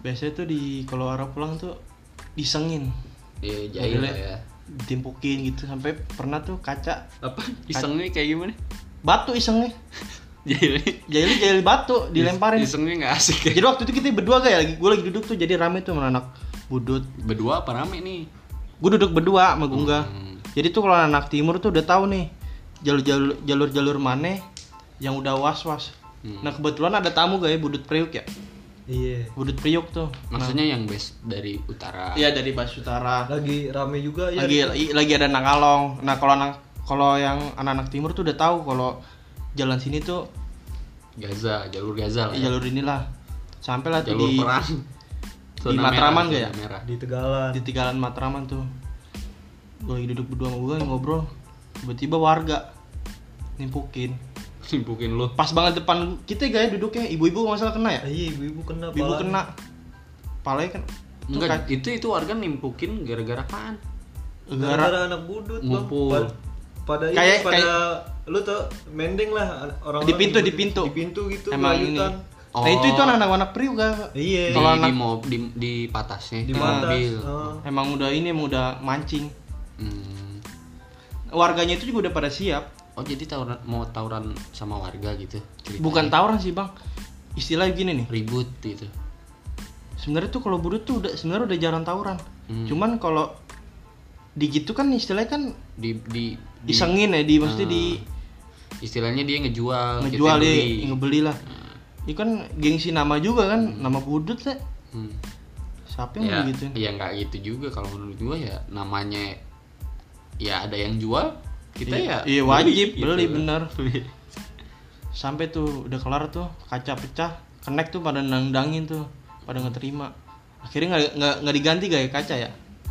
Speaker 2: biasanya tuh di kalau orang pulang tuh disengin
Speaker 1: Iya, jahil lah ya.
Speaker 2: ditimpukin gitu sampai pernah tuh kaca
Speaker 1: Apa isengnya kayak gimana?
Speaker 2: batu isengnya
Speaker 1: Jahilnya
Speaker 2: jahil jahil batu dilemparin
Speaker 1: Isengnya enggak asik ya.
Speaker 2: jadi waktu itu kita berdua gak ya lagi gue lagi duduk tuh jadi rame tuh sama anak budut
Speaker 1: Berdua apa rame nih?
Speaker 2: gue duduk berdua sama Gungga
Speaker 1: Hmm.
Speaker 2: jadi tuh kalau anak timur tuh udah tahu nih jalur jalur jalur jalur mana yang udah was was
Speaker 1: Hmm.
Speaker 2: nah kebetulan ada tamu gak ya budut priuk ya
Speaker 3: iya
Speaker 2: budut priuk tuh
Speaker 1: Maksudnya yang base dari utara.
Speaker 2: Nah. iya dari Basutara
Speaker 1: Nah,
Speaker 3: lagi rame
Speaker 1: iya,
Speaker 3: juga ya
Speaker 2: lagi i- lagi ada nakalong nah kalau anak kalau yang anak-anak timur tuh udah tahu kalau jalan sini tuh
Speaker 1: Gaza, jalur Gaza lah. Ya.
Speaker 2: jalur inilah sampai lah tuh
Speaker 1: Jalur
Speaker 2: di
Speaker 1: perang. Zona merah,
Speaker 2: Matraman nggak
Speaker 1: zona
Speaker 2: ya?
Speaker 1: Merah.
Speaker 3: di Tegalan
Speaker 2: di tigalan Matraman tuh gue lagi duduk berdua sama gue ngobrol tiba-tiba warga nimpukin
Speaker 1: Simpukin lu.
Speaker 2: pas banget depan kita gaya duduknya ibu-ibu nggak salah kena ya
Speaker 3: Ah, iya ibu-ibu kena
Speaker 2: ibu
Speaker 3: palanya.
Speaker 2: kena palanya kan tuh
Speaker 1: Enggak,
Speaker 2: kac-
Speaker 1: itu itu warga nimpukin gara-gara apaan?
Speaker 2: gara
Speaker 3: gara-gara anak budut Bang.
Speaker 1: Ngumpul.
Speaker 3: Pad- pada ini
Speaker 2: Kayak-
Speaker 3: pada
Speaker 2: kayak-
Speaker 3: lu tuh mendeng lah an- orang
Speaker 2: Di pintu, di
Speaker 3: budut.
Speaker 2: pintu.
Speaker 3: di pintu gitu
Speaker 2: emang ini
Speaker 3: berlayutan.
Speaker 1: Oh.
Speaker 2: nah itu itu anak-anak anak priuk gak
Speaker 1: Di,
Speaker 3: iya
Speaker 2: Kalau
Speaker 1: di,
Speaker 2: anak- Oh.
Speaker 1: mo- di, di patasnya,
Speaker 3: di
Speaker 1: di
Speaker 3: mata
Speaker 1: mobil.
Speaker 3: Heeh.
Speaker 2: emang udah ini emang udah mancing
Speaker 1: Hmm.
Speaker 2: warganya itu juga udah pada siap
Speaker 1: Oh jadi tawuran mau tawuran sama warga gitu? ceritanya?
Speaker 2: bukan tawuran sih bang istilah gini nih
Speaker 1: ribut gitu.
Speaker 2: sebenarnya tuh kalau budut tuh udah sebenarnya udah jarang tawuran
Speaker 1: Hmm.
Speaker 2: cuman kalau di gitu kan istilahnya kan
Speaker 1: Di di, di
Speaker 2: disengin ya di maksudnya di
Speaker 1: istilahnya dia
Speaker 3: Ah.
Speaker 1: ngejual, kita
Speaker 2: ngejual deh
Speaker 1: beli.
Speaker 2: ngebeli lah ini kan gengsi nama juga kan nama budut lah
Speaker 1: Hmm.
Speaker 2: siapa yang
Speaker 1: ya,
Speaker 3: Iya.
Speaker 2: mau gitu
Speaker 1: ya nggak gitu juga kalau menurut gua ya namanya ya ada yang jual kita
Speaker 2: Iya,
Speaker 1: ya
Speaker 2: iya, wajib
Speaker 1: gitu
Speaker 2: beli,
Speaker 1: kan.
Speaker 2: bener. sampai tuh udah kelar tuh kaca pecah connect tuh pada nandangin tuh pada ngeterima akhirnya nggak- nggak nggak diganti gak ya kaca ya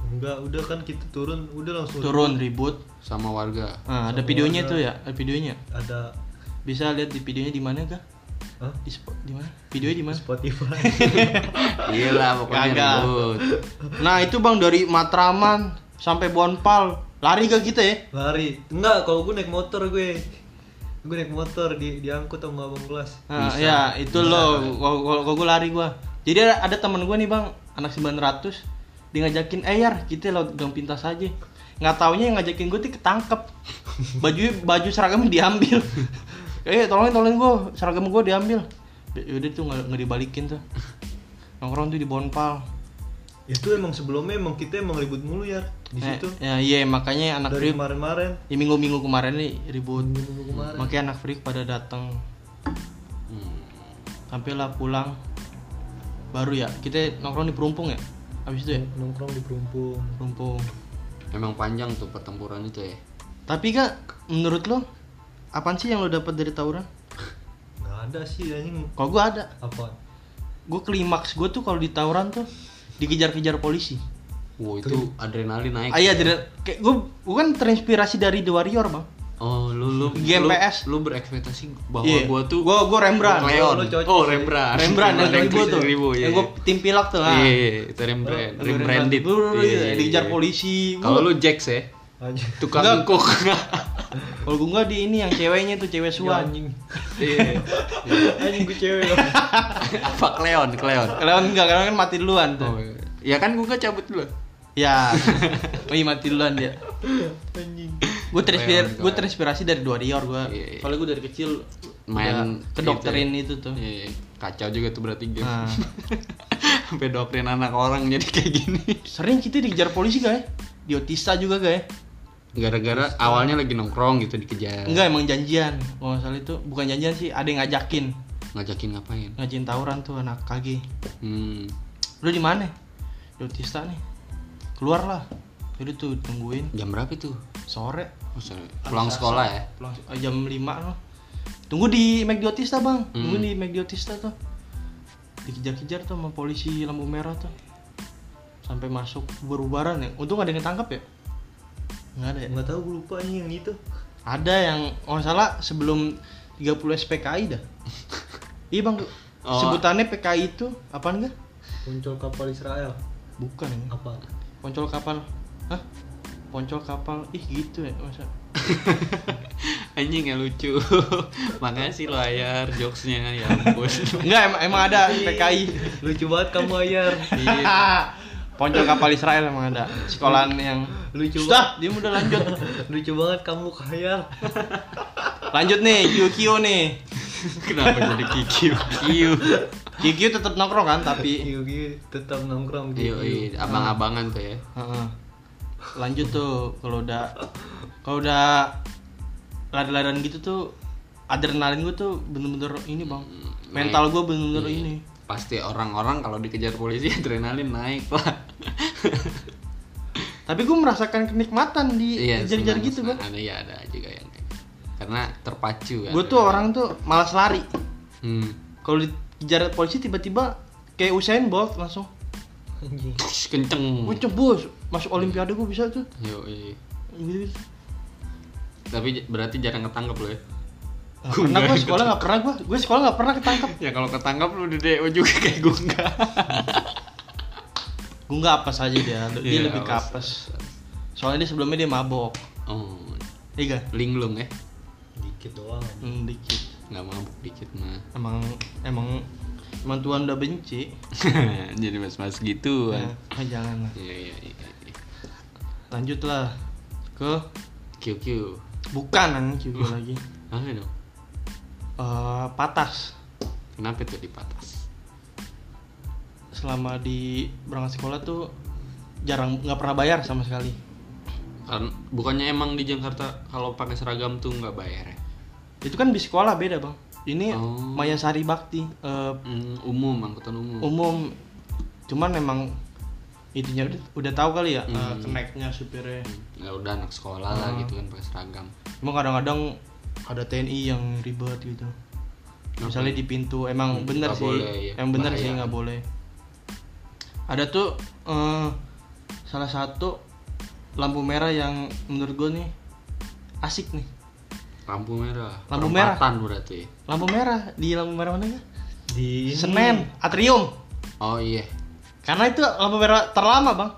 Speaker 3: Enggak, udah kan kita turun, udah langsung
Speaker 2: turun ribut
Speaker 1: sama warga
Speaker 2: nah, ada
Speaker 3: Sama
Speaker 2: videonya
Speaker 3: warga.
Speaker 2: tuh ya ada videonya
Speaker 3: ada
Speaker 2: bisa lihat di videonya di mana kah
Speaker 3: Hah?
Speaker 2: di spot di mana videonya di mana
Speaker 3: Spotify.
Speaker 1: gila pokoknya
Speaker 2: Kagak.
Speaker 1: ribut.
Speaker 2: nah itu bang dari Matraman sampai Bonpal lari ke kita ya
Speaker 3: Lari. Enggak, kalau gue naik motor gue. Gue naik motor di diangkut sama abang kelas.
Speaker 2: Nah,
Speaker 1: Bisa.
Speaker 2: ya itu loh kalau gue lari gua jadi ada, ada temen gue nih bang anak 900 dia ngajakin eh yar kita lo gang pintas aja nggak taunya yang ngajakin gue tuh ketangkep baju baju seragamnya diambil eh tolongin tolongin gue seragam gue diambil Ya, udah tuh nggak nggak dibalikin tuh nongkrong tuh di bonpal
Speaker 3: Itu emang sebelumnya emang kita emang ribut mulu ya di
Speaker 2: Eh,
Speaker 3: situ.
Speaker 2: ya iya makanya anak
Speaker 3: Dari
Speaker 2: freak
Speaker 3: kemarin-kemarin.
Speaker 2: ya minggu-minggu kemarin nih ribut
Speaker 3: Minggu kemarin.
Speaker 2: makanya anak freak pada datang
Speaker 1: Hmm.
Speaker 2: sampailah pulang baru ya kita nongkrong di perumpung ya habis itu ya
Speaker 3: Nongkrong di perumpung.
Speaker 2: perumpung
Speaker 1: emang panjang tuh pertempuran itu ya
Speaker 2: tapi kak menurut lo apaan sih yang lo dapat dari tawuran
Speaker 3: Enggak ada sih anjing
Speaker 2: kalau gue ada
Speaker 3: apa?
Speaker 2: gue klimaks gue tuh kalau di tawuran tuh dikejar-kejar polisi
Speaker 1: wow itu Ah, iya, adrenalin naik ya.
Speaker 2: ayah jadi kayak gue gue kan terinspirasi dari The Warrior bang
Speaker 1: oh lu lu
Speaker 2: GMPS.
Speaker 1: lu, lu berekspektasi bahwa
Speaker 2: Iya.
Speaker 1: gua tuh
Speaker 2: gue gue Rembrandt
Speaker 1: Leon
Speaker 3: Lu cocok
Speaker 1: oh
Speaker 3: sih.
Speaker 1: Rembrandt
Speaker 2: Rembrandt yang
Speaker 1: Rembrandt
Speaker 2: gue tuh
Speaker 1: ya
Speaker 2: yang gue tim pilak tuh
Speaker 1: Iya,
Speaker 2: ah.
Speaker 1: iya, iya, itu Rembrandt,
Speaker 2: Gua
Speaker 1: Rembrandt
Speaker 2: Rembrandt. Bro, bro, iya, dikejar polisi
Speaker 1: Kalau lu Jax ya,
Speaker 3: Anjing.
Speaker 1: tukang
Speaker 2: Enggak.
Speaker 1: kok.
Speaker 2: Kalau gue nggak di ini yang ceweknya tuh cewek
Speaker 3: Ya,
Speaker 2: suan.
Speaker 3: anjing.
Speaker 1: Iya.
Speaker 3: Anjing gue cewek.
Speaker 1: Apa Cleon, Cleon.
Speaker 2: Kalian enggak, kalian kan mati duluan tuh.
Speaker 1: Oh, iya. ya kan gua gak cabut dulu.
Speaker 2: Ya, wih mati duluan dia.
Speaker 3: anjing.
Speaker 2: Gue terinspirasi,
Speaker 1: Keren, keren.
Speaker 2: gue terinspirasi dari dua Rior gue.
Speaker 1: Iya, iya.
Speaker 2: Soalnya gue dari kecil
Speaker 1: Main gitu ya.
Speaker 2: udah kedokterin itu tuh.
Speaker 1: Iya, iya. kacau juga tuh berarti game.
Speaker 2: Nah.
Speaker 1: Sampai doktrin anak orang jadi kayak gini.
Speaker 2: Sering kita dikejar polisi gak ya? Di Otista juga gak ya?
Speaker 1: Iya. Gara-gara awalnya lagi nongkrong gitu dikejar.
Speaker 2: eh, Enggak emang janjian. Kalau nggak salah itu bukan janjian sih, ada yang ngajakin
Speaker 1: Ngajakin ngapain?
Speaker 2: ngajin tawuran tuh anak KG.
Speaker 1: Hmm.
Speaker 2: Lu di mana? Di Otista nih. Keluar lah. Jadi tuh tungguin
Speaker 1: Jam berapa itu?
Speaker 2: sore
Speaker 1: Oh, sorry. Pulang sekolah ya?
Speaker 2: pulang eh, jam 5 loh. Tunggu di McDiotista bang, tunggu
Speaker 1: Hmm.
Speaker 2: di McDiotista tuh. Dikejar-kejar tuh sama polisi lampu merah tuh. Sampai masuk berubaran ya. Untung ada yang ketangkep ya? Nggak ada ya?
Speaker 3: Enggak tahu gue lupa anjing yang itu.
Speaker 2: Ada yang, oh salah sebelum 30 SPKI dah. iya bang,
Speaker 1: Oh.
Speaker 2: sebutannya PKI itu apaan enggak?
Speaker 3: Muncul kapal Israel.
Speaker 2: Bukan ya.
Speaker 3: Apa?
Speaker 2: Poncol kapal. Hah? Poncol kapal. Ih gitu ya masa.
Speaker 1: Anjing ya lucu. Makasih lo layar jokesnya ya ampun.
Speaker 2: Enggak emang, emang ada PKI.
Speaker 3: Lucu banget kamu Ayar.
Speaker 2: Iya. Poncol kapal Israel emang ada sekolahan yang
Speaker 3: Lucu
Speaker 2: sudah dia udah lanjut
Speaker 3: Lucu banget kamu Ayar.
Speaker 2: lanjut nih QQ nih
Speaker 1: Kenapa jadi kikiu? Kikiu.
Speaker 2: QQ tetap nongkrong kan tapi
Speaker 3: Yugi tetap nongkrong di
Speaker 1: Iya, iya, abang-abangan tuh ya.
Speaker 2: Heeh. lanjut tuh kalau udah kalau udah lari-larian gitu tuh adrenalin gue tuh bener-bener ini bang mental gue bener-bener
Speaker 1: Iya.
Speaker 2: ini
Speaker 1: Pasti orang-orang kalau dikejar polisi adrenalin naik lah.
Speaker 2: tapi gue merasakan kenikmatan di
Speaker 1: Iya,
Speaker 2: kejar-kejar
Speaker 1: senang,
Speaker 2: gitu
Speaker 1: senang.
Speaker 2: bang
Speaker 1: Ada ya ada juga yang kayak gitu. karena terpacu kan.
Speaker 2: gue tuh orang tuh malas lari
Speaker 1: Hmm.
Speaker 2: kalau dikejar polisi tiba-tiba kayak Usain Bolt langsung
Speaker 3: Anjing.
Speaker 1: Tsh, kenceng.
Speaker 2: gue cebus masuk olimpiade gue bisa tuh
Speaker 1: Yo, iya.
Speaker 2: gitu
Speaker 1: Tapi j- berarti jarang ketangkep lo ya.
Speaker 2: pernah gue sekolah nggak pernah gue gue sekolah nggak pernah ketangkep
Speaker 1: Ya kalau ketangkep lu di DO juga kayak gue enggak.
Speaker 2: gue nggak apes aja dia dia
Speaker 1: Iya,
Speaker 2: lebih ke apes soalnya dia sebelumnya dia mabok
Speaker 1: Oh,
Speaker 2: iya gak?
Speaker 1: linglung ya.
Speaker 3: Dikit doang. anjing.
Speaker 2: Hmm, dikit
Speaker 1: Enggak mabuk dikit mah.
Speaker 2: emang emang emang Tuhan udah benci
Speaker 1: Jadi mas-mas gituan.
Speaker 2: Nah, jangan lah
Speaker 1: Iya, iya, iya. iya.
Speaker 2: lanjutlah ke
Speaker 1: QQ.
Speaker 2: bukan anjing juga lagi
Speaker 1: Mana dong?
Speaker 2: Eh, patas
Speaker 1: Kenapa tuh di patas?
Speaker 2: selama di berangkat sekolah tuh jarang nggak pernah bayar sama sekali
Speaker 1: Karena bukannya emang di Jakarta kalau pakai seragam tuh nggak bayar ya?
Speaker 2: itu kan di sekolah beda bang ini
Speaker 1: Oh.
Speaker 2: Mayasari Bakti eh,
Speaker 1: Hmm, umum angkutan umum.
Speaker 2: umum cuman memang itunya udah, udah tahu kali
Speaker 1: Hmm.
Speaker 2: ya eh, keneknya supirnya
Speaker 1: Ya udah anak sekolah lah gitu kan pakai seragam.
Speaker 2: Emang kadang-kadang ada TNI yang ribet gitu. Misalnya di pintu emang
Speaker 1: Hmm,
Speaker 2: bener
Speaker 1: nggak
Speaker 2: sih,
Speaker 1: boleh, ya.
Speaker 2: yang bener sih
Speaker 1: Bahaya.
Speaker 2: nggak boleh. Ada tuh eh, salah satu lampu merah yang menurut gue nih asik nih.
Speaker 1: Lampu merah.
Speaker 2: Lampu
Speaker 1: Perempatan berarti.
Speaker 2: Lampu merah di lampu merah mana ya?
Speaker 3: di
Speaker 2: Senen, Atrium.
Speaker 1: Oh iya.
Speaker 2: Karena itu lampu merah terlama bang.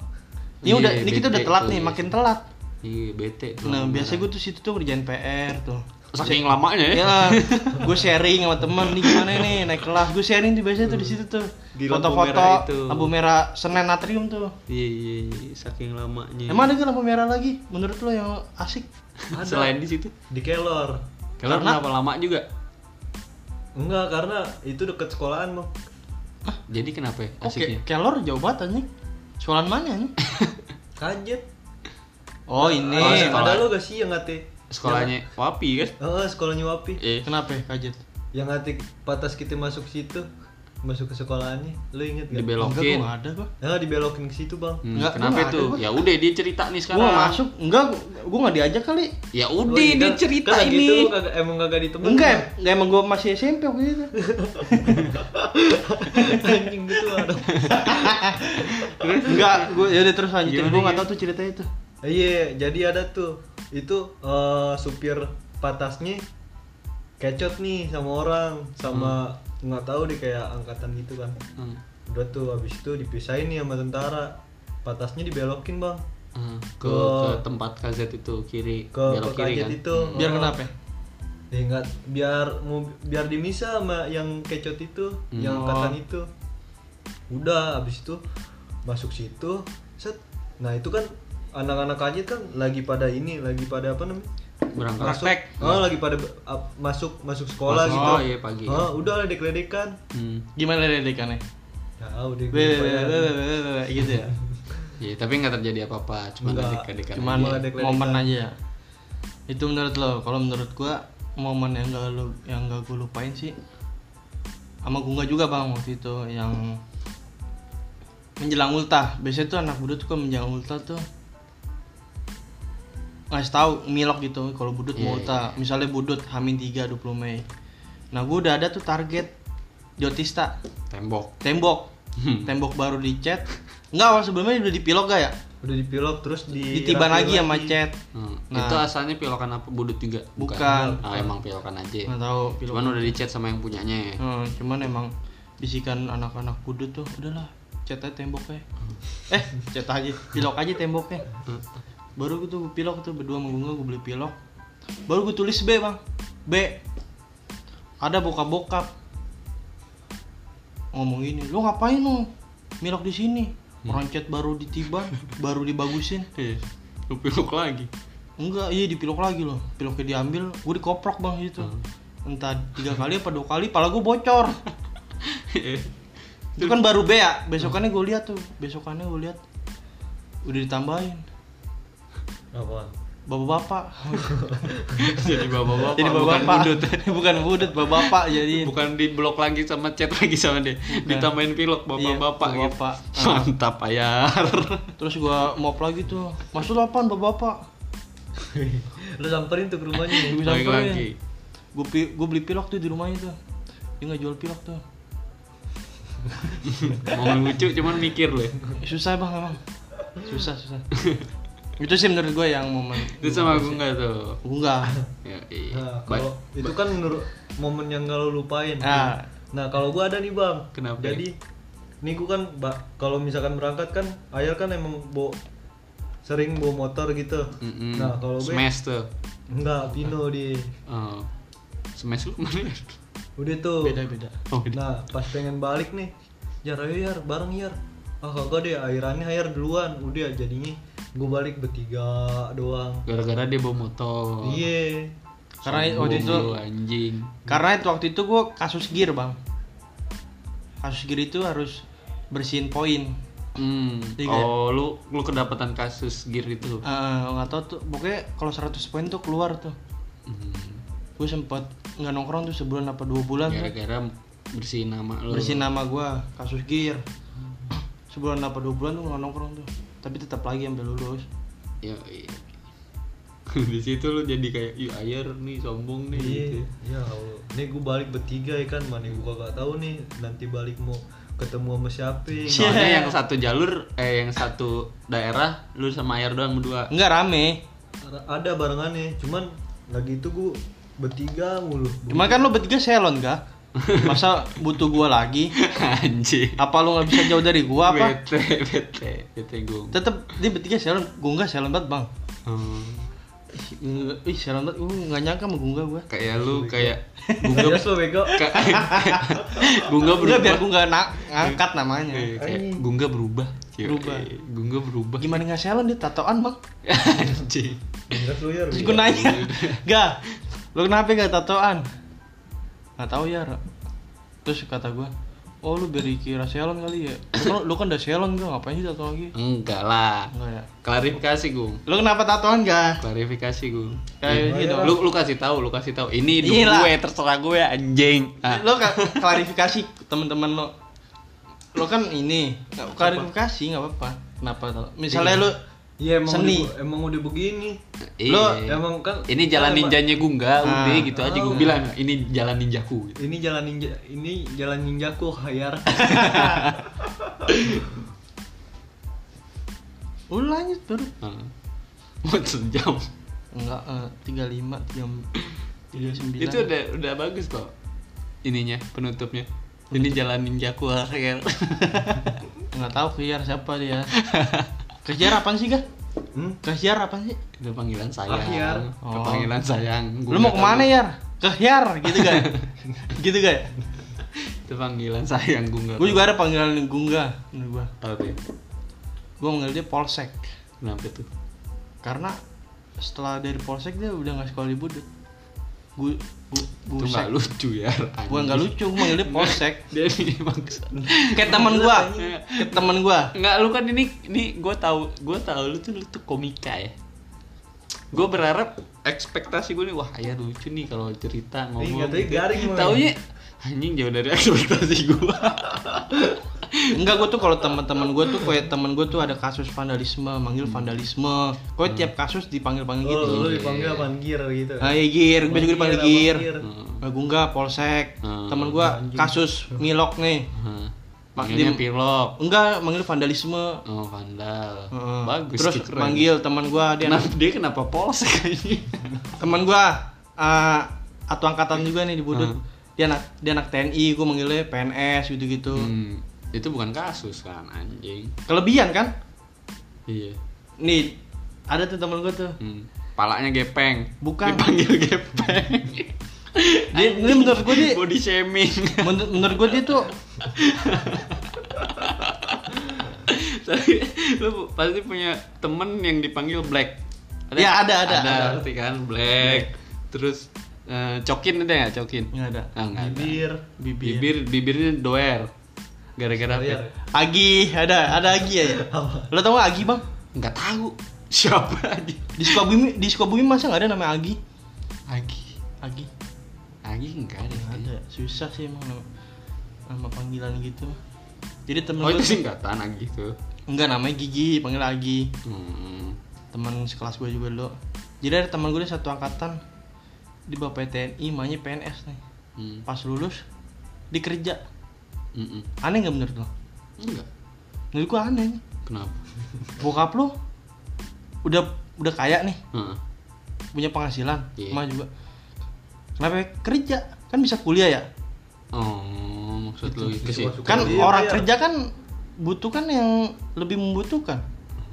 Speaker 2: Ini
Speaker 1: Iya,
Speaker 2: udah, ini kita
Speaker 1: bete
Speaker 2: udah telat
Speaker 1: tuh,
Speaker 2: nih,
Speaker 1: iya.
Speaker 2: makin telat.
Speaker 1: Iya, bete tuh.
Speaker 2: Nah
Speaker 1: lampu
Speaker 2: biasanya
Speaker 1: merah.
Speaker 2: gue tuh situ tuh kerjaan PR tuh.
Speaker 1: saking lamanya ya.
Speaker 2: ya gue sharing sama temen nih gimana nih naik kelas gue sharing tuh biasanya tuh di situ tuh
Speaker 3: Di lampu merah
Speaker 2: foto-foto
Speaker 3: itu.
Speaker 2: lampu merah senen natrium tuh
Speaker 1: Iya, iya, iya, saking lamanya.
Speaker 2: emang ada gak lampu merah lagi menurut lo yang asik
Speaker 3: Ada.
Speaker 1: selain di situ.
Speaker 3: di Kelor
Speaker 1: Kalau kenapa lama juga?
Speaker 3: enggak karena itu deket sekolahan bang
Speaker 1: Jadi kenapa ya
Speaker 2: oke
Speaker 1: asiknya?
Speaker 2: kelor jauh banget anjing sekolahan mana anjing
Speaker 3: kaget
Speaker 2: oh ini
Speaker 3: Ah,
Speaker 1: sekolah.
Speaker 3: ada lo gak sih yang ngate
Speaker 1: Sekolahnya Wapi kan?
Speaker 3: Heeh, sekolahnya Wapi
Speaker 1: Eh,
Speaker 2: kenapa ya kaget
Speaker 3: yang ngate patas kita masuk situ masuk ke sekolahannya lo inget gak?
Speaker 2: enggak gue
Speaker 1: dibelokin.
Speaker 2: gak ada gue
Speaker 3: Nah, dibelokin ke situ bang
Speaker 1: Hmm,
Speaker 2: Nggak,
Speaker 1: kenapa
Speaker 2: gua nggak
Speaker 1: itu?
Speaker 2: ada, gua.
Speaker 1: Ya udah dia cerita nih
Speaker 2: gue
Speaker 1: sekarang.
Speaker 2: masuk enggak gue gak diajak kali
Speaker 1: Ya
Speaker 3: Lo
Speaker 1: udah
Speaker 3: ingat?
Speaker 1: dia cerita
Speaker 3: Kagak gitu,
Speaker 1: ini.
Speaker 3: lo kagak- emang kagak ditemenin
Speaker 2: enggak em- enggak emang gue masih SMP waktu itu
Speaker 3: anjing gitu ada
Speaker 2: enggak gue ya udah terus lanjutin
Speaker 1: Gimana,
Speaker 2: gue gak
Speaker 1: gimana?
Speaker 2: tau tuh ceritanya itu
Speaker 3: iya jadi ada tuh itu eh, supir patasnya kecot nih sama orang sama nggak tahu deh kayak angkatan gitu kan
Speaker 1: Hmm,
Speaker 3: udah tuh habis itu dipisahin nih sama tentara patasnya dibelokin bang
Speaker 1: hmm, Ke,
Speaker 3: Ke-
Speaker 1: ke tempat KZ itu kiri,
Speaker 3: ke
Speaker 1: belok
Speaker 3: ke
Speaker 1: kiri
Speaker 3: kaget
Speaker 1: kan.
Speaker 3: itu
Speaker 2: biar
Speaker 3: Oh.
Speaker 2: kenapa ya?
Speaker 3: Ya, nggak- biar mau biar dimisa sama yang kecot itu
Speaker 1: Hmm.
Speaker 3: yang
Speaker 2: Oh.
Speaker 3: angkatan itu udah abis itu masuk situ set nah itu kan anak-anak kajet kan lagi pada ini lagi pada apa namanya
Speaker 1: Berangkat
Speaker 3: masuk
Speaker 1: praktek.
Speaker 2: Hmm.
Speaker 3: oh, lagi pada ap- masuk masuk sekolah
Speaker 1: Masuk
Speaker 3: gitu
Speaker 1: sekolah, iya, pagi.
Speaker 3: oh, udah lah dekledekan
Speaker 1: Hmm.
Speaker 2: gimana dedekannya
Speaker 3: ya udah gue lupain.
Speaker 2: Wih, gitu ya
Speaker 1: Ya, tapi nggak terjadi apa-apa, cuma
Speaker 3: Nggak,
Speaker 1: dekat-dekat.
Speaker 2: cuman
Speaker 3: Gua ada kelihatan.
Speaker 2: momen aja ya itu menurut lo kalau menurut gua momen yang gak lu yang gak gua lupain sih sama gua juga bang waktu itu yang menjelang ultah biasanya tuh anak budut kok menjelang ultah tuh ngasih tahu milok gitu kalau budut
Speaker 1: Iya,
Speaker 2: mau ultah misalnya budut hamin 3 20 Mei nah gua udah ada tuh target Jotista
Speaker 1: tembok.
Speaker 2: tembok tembok baru dicat enggak awal sebelumnya udah dipilok gak ya
Speaker 3: udah dipilok terus di
Speaker 2: ditiban
Speaker 3: rapi
Speaker 2: Iya, lagi sama cat
Speaker 1: Hmm.
Speaker 2: Nah.
Speaker 1: Itu asalnya pilokan apa? Budut juga?
Speaker 2: Bukan.
Speaker 1: Ah, emang pilokan aja.
Speaker 2: nggak tahu pilok
Speaker 1: Cuman udah dicat sama yang punyanya ya.
Speaker 2: Hmm, cuman emang bisikan anak-anak kudu tuh udahlah cat aja temboknya eh cat aja pilok aja temboknya baru gue tuh pilok tuh berdua sama bunga gue beli pilok baru gue tulis B bang B ada bokap-bokap ngomong ini lo ngapain lo milok di sini orang cat baru ditiban baru dibagusin
Speaker 1: Iya. Lu pilok lagi.
Speaker 2: Enggak, iya dipilok lagi loh. Piloknya diambil, gue dikoprok bang itu.
Speaker 1: Hmm.
Speaker 2: Entah tiga kali apa dua kali, pala gue bocor. itu kan baru B ya. Besokannya gue lihat tuh, besokannya gue lihat udah ditambahin.
Speaker 3: Apaan?
Speaker 2: Bapak-bapak.
Speaker 1: Jadi bapak-bapak.
Speaker 2: Jadi
Speaker 1: bukan
Speaker 2: bapak-bapak.
Speaker 1: budut.
Speaker 2: bukan budut, bapak-bapak jadi.
Speaker 1: Bukan di blok lagi sama chat lagi sama dia. Ditambahin pilok bapak-bapak
Speaker 2: Iya,
Speaker 1: gitu.
Speaker 2: bapak-bapak.
Speaker 1: Mantap ayar.
Speaker 2: Terus gue mop lagi tuh. Maksud lo apaan bapak-bapak?
Speaker 3: lu samperin tuh ke rumahnya ya?
Speaker 2: Gue
Speaker 1: Lagi lagi.
Speaker 2: Gue beli pilok tuh di rumahnya tuh. Dia nggak jual pilok tuh.
Speaker 1: Mau lucu cuman mikir lu ya.
Speaker 2: Eh, Susah bang emang. Susah susah. itu sih menurut gue yang momen.
Speaker 1: Itu sama gue enggak tuh.
Speaker 2: Gue enggak.
Speaker 1: Ya, iya.
Speaker 3: Nah,
Speaker 1: Baik.
Speaker 3: kalau itu kan menurut momen yang gak lo lupain.
Speaker 2: Ah.
Speaker 3: Nah, kalau gua ada nih, Bang.
Speaker 1: Kenapa?
Speaker 3: Jadi nih gua kan ba- kalau misalkan berangkat kan Ayah kan emang bo sering bawa motor gitu.
Speaker 1: Mm-mm.
Speaker 3: Nah, kalau gue
Speaker 1: smash tuh.
Speaker 3: enggak Pino di
Speaker 1: Oh. Smash lu kemana? ya?
Speaker 3: udah tuh.
Speaker 2: beda-beda
Speaker 1: Oh, ini.
Speaker 3: Nah, pas pengen balik nih, Yar ayo Yar, bareng Yar. Ah, kagak deh, airannya air duluan. Udah jadinya gua balik bertiga doang.
Speaker 1: gara-gara dia bawa motor.
Speaker 3: Iya.
Speaker 2: karena waktu itu
Speaker 1: Sombong lu, anjing.
Speaker 2: karena itu waktu itu gue kasus gear bang kasus gear itu harus bersihin poin
Speaker 1: Hmm.
Speaker 2: Iya,
Speaker 1: Oh, lu lu kedapatan kasus gear itu.
Speaker 2: Eh, nggak tahu tuh pokoknya kalau 100 poin tuh keluar tuh
Speaker 1: Hmm.
Speaker 2: gue sempat nggak nongkrong tuh sebulan apa dua bulan tuh
Speaker 1: gara-gara bersihin nama lo
Speaker 2: bersihin nama gue kasus gear sebulan apa dua bulan tuh nggak nongkrong tuh tapi tetap lagi sampai lulus
Speaker 1: ya iya. di situ lo jadi kayak "Ih, ayer nih sombong nih gitu
Speaker 3: Iya,
Speaker 1: ya.
Speaker 3: ya Allah. Nih gue balik bertiga ya kan, mana gue kagak tahu nih nanti balik mau ketemu sama siapa. ya.
Speaker 1: soalnya yang satu jalur eh yang satu daerah lu sama ayer doang berdua
Speaker 2: nggak rame
Speaker 3: Ada- Ada barengannya, cuman lagi itu gue bertiga mulu.
Speaker 2: cuma kan lo bertiga selon kah masa butuh gue lagi
Speaker 1: anjing
Speaker 2: apa lo nggak bisa jauh dari gue apa
Speaker 1: bete bete bete gue
Speaker 2: tetep dia bertiga selon gue nggak selon banget bang Ih, selon banget, gue nggak nyangka sama Gungga gue
Speaker 1: kayak lu kayak
Speaker 3: Gak
Speaker 1: bunga
Speaker 3: lo bego.
Speaker 1: bunga
Speaker 2: Enggak
Speaker 1: berubah
Speaker 2: biar gue nggak na- ngangkat namanya
Speaker 1: Eh, kayak Gungga berubah Cewek.
Speaker 2: Berubah.
Speaker 1: Gungga berubah
Speaker 2: Gimana nggak selon dia tatoan bang
Speaker 1: Iya. Anjing
Speaker 3: Gak lo ya.
Speaker 2: Terus gue
Speaker 1: Iya.
Speaker 2: nanya, Ga, lu kenapa gak tatoan? Gak tau ya, Ra." Terus kata gue, oh lu beri kira selon kali ya? Lu kan, lu kan udah selon gue, ngapain sih tato lagi?
Speaker 1: Enggak lah
Speaker 2: Enggak ya.
Speaker 1: Klarifikasi Gung
Speaker 2: Lu kenapa tatoan gak?
Speaker 1: Klarifikasi Gung
Speaker 2: Kayak
Speaker 1: Ih,
Speaker 2: gitu.
Speaker 1: Lu, lu kasih tahu, lu kasih tahu. Ini hidup
Speaker 2: Iya lah.
Speaker 1: gue, terserah gue anjing. Ah.
Speaker 2: Lu ka- klarifikasi ke temen-temen lu. Lu kan ini, klarifikasi gak apa-apa. Kenapa tato- Misalnya lu,
Speaker 3: Iya emang
Speaker 2: Seni.
Speaker 3: Udah, emang udah begini.
Speaker 1: Iya.
Speaker 2: Lu
Speaker 3: emang kan-
Speaker 1: ini jalan ninjanya gue enggak,
Speaker 2: Ah.
Speaker 1: udah gitu aja gue bilang. Ini jalan ninjaku. Gitu.
Speaker 3: Ini jalan ninja, ini jalan ninjaku hayar.
Speaker 2: lu lanjut baru.
Speaker 1: Ah. Mau sejam.
Speaker 2: Enggak, eh, 35, 39.
Speaker 1: Itu udah udah bagus kok. Ininya penutupnya. Ini jalan ninjaku Ariel.
Speaker 2: Nggak tahu kejar siapa dia. Kejar apaan sih, Ga?
Speaker 3: Hmm?
Speaker 2: Kejar apaan sih?
Speaker 1: Itu panggilan sayang.
Speaker 3: Ariel.
Speaker 1: Itu
Speaker 2: Oh.
Speaker 1: Panggilan sayang. Gua
Speaker 2: lu mau
Speaker 1: nggak
Speaker 2: kemana ya?
Speaker 1: tahu.
Speaker 2: Yar? ke Yar gitu kan gitu kan
Speaker 1: Itu panggilan sayang gue enggak.
Speaker 2: gue juga ada panggilan Gungga menurut gue
Speaker 1: tahu tuh. ya.
Speaker 2: gue manggil dia Polsek
Speaker 1: Kenapa tuh?
Speaker 2: karena setelah dari Polsek dia udah nggak sekolah di budek gue
Speaker 1: Itu
Speaker 2: gue
Speaker 1: enggak lucu ya.
Speaker 2: gue nggak lucu gue manggil dia Polsek
Speaker 1: Dia ini maksa.
Speaker 2: kayak teman gue
Speaker 1: Iya.
Speaker 2: kayak teman gue
Speaker 1: Enggak, lu kan ini ini gue tahu gue tahu lu tuh lu tuh komika ya. Gue berharap ekspektasi gue nih wah ya lucu nih kalau cerita ngomong. gitu.
Speaker 3: katanya garing, Moy.
Speaker 1: Taunya anjing jauh dari ekspektasi gue.
Speaker 2: enggak gue tuh kalau teman-teman gue tuh kayak teman gue tuh ada kasus vandalisme manggil vandalisme kau tiap kasus dipanggil panggil
Speaker 3: Oh,
Speaker 2: gitu
Speaker 3: lu dipanggil apaan gear gitu.
Speaker 2: Ah, iya, Gir. Gue juga dipanggil
Speaker 3: Gear, abang
Speaker 2: Gir.
Speaker 3: Gear.
Speaker 2: Nah, gue enggak, Polsek.
Speaker 1: Hmm.
Speaker 2: Temen gue kasus milok nih.
Speaker 1: Manggilnya
Speaker 2: Dim-
Speaker 1: Pirlok.
Speaker 2: Enggak, manggil vandalisme.
Speaker 1: Oh, vandal.
Speaker 2: Heeh.
Speaker 1: Bagus.
Speaker 2: Terus
Speaker 1: tuh, keren.
Speaker 2: manggil teman gue, dia
Speaker 1: Kenapa dia kenapa polsek kayaknya?
Speaker 2: teman gue eh atau angkatan juga nih di Budut.
Speaker 1: Hmm.
Speaker 2: Dia anak dia anak TNI, gue manggilnya PNS gitu-gitu.
Speaker 1: Hmm, itu bukan kasus kan anjing.
Speaker 2: Kelebihan kan?
Speaker 1: Iya.
Speaker 2: Nih, ada tuh temen gue tuh.
Speaker 1: Hmm. Palanya gepeng.
Speaker 2: Bukan.
Speaker 1: Dipanggil gepeng.
Speaker 2: Dia, ini menurut gue Oh, dia
Speaker 1: Body shaming.
Speaker 2: menur- menurut gue dia tuh
Speaker 1: Tapi lu pasti punya temen yang dipanggil Black.
Speaker 2: Ya, ada, ada,
Speaker 1: Ada,
Speaker 2: ada.
Speaker 1: pasti kan Black. Terus eh, Cokin ada nggak Cokin?
Speaker 2: nggak ada.
Speaker 1: Ah, nggak ada.
Speaker 3: Bibir.
Speaker 2: Bibir.
Speaker 1: Bibir, bibirnya doer. Gara-gara
Speaker 3: Doer.
Speaker 1: apa?
Speaker 2: Agi, ada ada Agi ya. ya?
Speaker 3: Apa?
Speaker 2: Lo tau gak Agi bang?
Speaker 1: Nggak tahu siapa Agi.
Speaker 2: Di Sukabumi, di Sukabumi masa nggak ada namanya Agi?
Speaker 1: Agi.
Speaker 2: Agi.
Speaker 1: Agi enggak ada.
Speaker 2: Nggak
Speaker 1: kayaknya.
Speaker 2: ada, susah sih emang nama, nama panggilan gitu. Jadi temen
Speaker 1: Oh
Speaker 2: gue
Speaker 1: itu singkatan Agi tuh.
Speaker 2: enggak namanya Gigi, panggil Agi.
Speaker 1: Hmm.
Speaker 2: Teman sekelas gue juga dulu. Jadi ada teman gue dia satu angkatan. Di bapak TNI, emaknya PNS nih.
Speaker 1: Hmm.
Speaker 2: Pas lulus dikerja.
Speaker 1: Mm-mm.
Speaker 2: Aneh nggak menurut lo?
Speaker 1: Enggak.
Speaker 2: Menurut gue aneh.
Speaker 1: Kenapa?
Speaker 2: Bokap lo udah udah kaya nih,
Speaker 1: Heeh.
Speaker 2: punya penghasilan,
Speaker 1: Iya.
Speaker 2: emak juga. Kenapa ya? kerja? Kan bisa kuliah ya?
Speaker 1: Oh, maksud lu itu sih.
Speaker 3: masuk-
Speaker 2: kan
Speaker 3: Iya,
Speaker 2: orang
Speaker 3: iya.
Speaker 2: kerja kan butuh kan yang lebih membutuhkan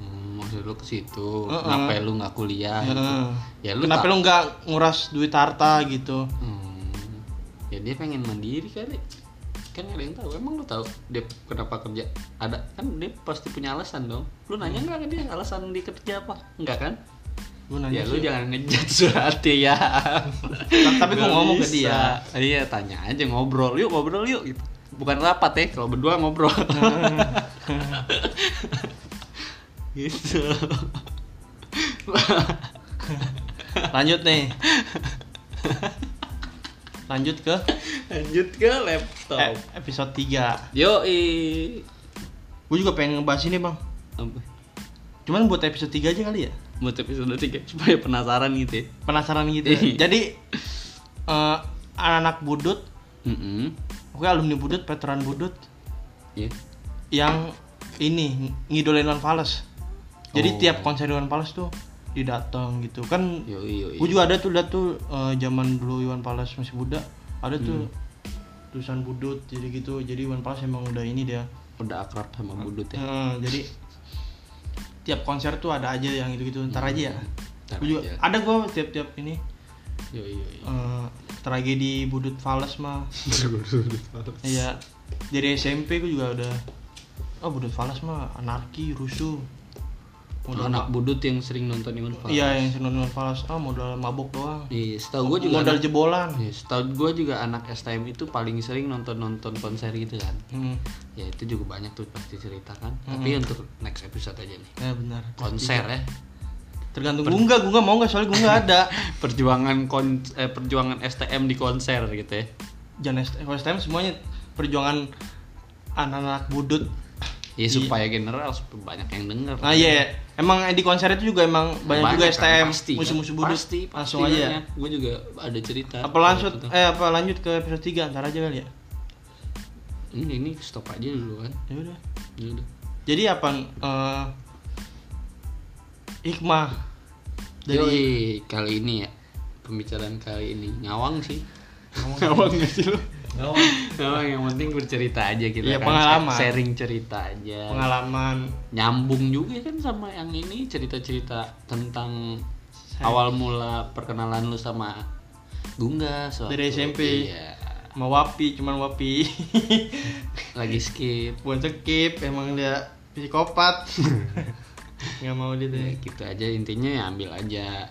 Speaker 1: Hmm, maksud lu ke situ.
Speaker 2: Heeh.
Speaker 1: Kenapa lu nggak kuliah? gitu.
Speaker 2: Heeh.
Speaker 1: Ya lu
Speaker 2: kenapa
Speaker 1: tak-
Speaker 2: lu nggak nguras duit harta gitu
Speaker 1: Hmm. Ya dia pengen mandiri kali. Kan nggak ada yang tahu. Emang lu tahu dia kenapa kerja? Ada kan dia pasti punya alasan dong. Lu
Speaker 2: Hmm.
Speaker 1: nanya nggak ke dia alasan dia kerja apa? Enggak kan?
Speaker 2: gue
Speaker 1: ya
Speaker 2: nanya
Speaker 1: lu
Speaker 2: sih.
Speaker 1: jangan ngejat surati ya.
Speaker 2: tapi gua
Speaker 1: Nggak
Speaker 2: ngomong ke
Speaker 1: bisa. Iya,
Speaker 2: dia.
Speaker 1: tanya aja ngobrol. Yuk ngobrol yuk gitu. Bukan rapat ya, kalau berdua ngobrol. gitu.
Speaker 2: lanjut nih lanjut ke
Speaker 1: lanjut ke laptop
Speaker 2: eh, episode 3
Speaker 1: yoi
Speaker 2: gue juga pengen ngebahas ini bang
Speaker 1: apa
Speaker 2: cuman buat episode 3 aja kali ya
Speaker 1: buat episode 3 supaya penasaran gitu ya
Speaker 2: penasaran gitu
Speaker 1: Iya.
Speaker 2: ya. jadi eh, anak-anak budut
Speaker 1: Mm-mm.
Speaker 2: oke alumni budut veteran budut
Speaker 1: Iya.
Speaker 2: yang ini ngidolain Iwan Fals jadi
Speaker 1: Oh. Iya,
Speaker 2: tiap konser Iwan Fals tuh didatang gitu kan
Speaker 1: yoi yoi
Speaker 2: Gue juga ada tuh lihat tuh eh, zaman dulu Iwan Fals masih muda, ada tuh
Speaker 1: Hmm.
Speaker 2: tulisan budut jadi gitu. Jadi Iwan Fals emang udah ini dia.
Speaker 1: udah akrab sama budut ya
Speaker 2: Heeh, jadi tiap konser tuh ada aja yang gitu-gitu. Ntar aja ya.
Speaker 1: Hmm. Ntar
Speaker 2: Gua juga
Speaker 1: aja.
Speaker 2: ada gue tiap-tiap ini
Speaker 1: yoi yoi
Speaker 2: eh, tragedi budut Fals mah. Iya. Dari SMP gue juga udah oh budut Fals mah anarki, rusuh. Modal
Speaker 1: anak
Speaker 2: anak
Speaker 1: budut yang sering nonton Iwan Fals
Speaker 2: Iya yang seneng Iwan Fals ah modal mabok doang.
Speaker 1: Iya, setahu gue juga
Speaker 2: modal
Speaker 1: anak-
Speaker 2: jebolan.
Speaker 1: Iya, setahu gue juga anak STM itu paling sering nonton-nonton konser gitu kan
Speaker 2: Hmm.
Speaker 1: ya itu juga banyak tuh pasti cerita kan tapi untuk next episode aja nih
Speaker 2: Ya benar.
Speaker 1: konser ya
Speaker 2: Tergantung gue enggak, gue enggak mau enggak soalnya gue enggak ada.
Speaker 1: perjuangan kon eh, perjuangan STM di konser gitu ya
Speaker 2: Jangan ST- kalau STM semuanya perjuangan anak-anak budut.
Speaker 1: ya supaya general supaya banyak yang denger
Speaker 2: Nah iya, emang di konser itu juga emang banyak,
Speaker 1: kan,
Speaker 2: juga STM
Speaker 1: pasti, kan?
Speaker 2: musuh-musuh budut.
Speaker 1: pasti, pasti
Speaker 2: langsung aja. ya.
Speaker 1: gue juga ada cerita
Speaker 2: Apa lanjut
Speaker 1: Tentang-
Speaker 2: eh apa lanjut ke episode 3 ntar aja kali ya.
Speaker 1: ini ini stop aja dulu kan
Speaker 2: Ya udah.
Speaker 1: ya udah
Speaker 2: Jadi apa eh hikmah
Speaker 1: Yoi,
Speaker 2: dari
Speaker 1: kali ini ya pembicaraan kali ini ngawang sih
Speaker 2: ngawang nggak sih lu?
Speaker 3: Ngawang.
Speaker 1: ngawang yang penting bercerita aja kita
Speaker 2: Iya,
Speaker 1: kan.
Speaker 2: pengalaman.
Speaker 1: sharing cerita aja
Speaker 2: Pengalaman
Speaker 1: nyambung juga kan sama yang ini cerita-cerita tentang
Speaker 2: Saya-
Speaker 1: awal mula perkenalan lu sama Gungga soal
Speaker 2: Dari SMP.
Speaker 1: iya
Speaker 2: mau wapi cuman wapi
Speaker 1: lagi skip
Speaker 2: bukan skip emang dia psikopat nggak mau dia
Speaker 1: Ya,
Speaker 2: deh
Speaker 1: gitu aja intinya ya ambil aja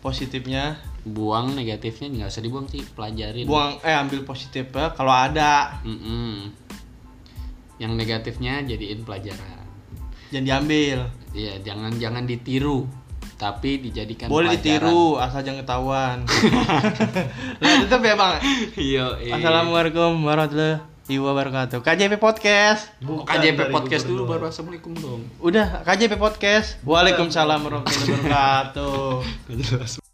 Speaker 2: positifnya
Speaker 1: buang negatifnya nggak usah dibuang sih pelajarin
Speaker 2: buang eh ambil positifnya kalau ada
Speaker 1: Mm-mm. yang negatifnya jadiin pelajaran
Speaker 2: jangan diambil
Speaker 1: Iya, jangan jangan ditiru, tapi dijadikan
Speaker 2: boleh
Speaker 1: pelajaran.
Speaker 2: ditiru asal jangan ketahuan nah tetap ya bang
Speaker 1: Iya, iya.
Speaker 2: assalamualaikum warahmatullahi wabarakatuh KJP podcast
Speaker 1: Oh,
Speaker 3: Bukan
Speaker 1: KJP
Speaker 3: dari
Speaker 1: podcast dulu baru
Speaker 3: gubernur.
Speaker 1: assalamualaikum dong.
Speaker 2: udah KJP podcast waalaikumsalam warahmatullahi wabarakatuh
Speaker 3: Nggak jelas.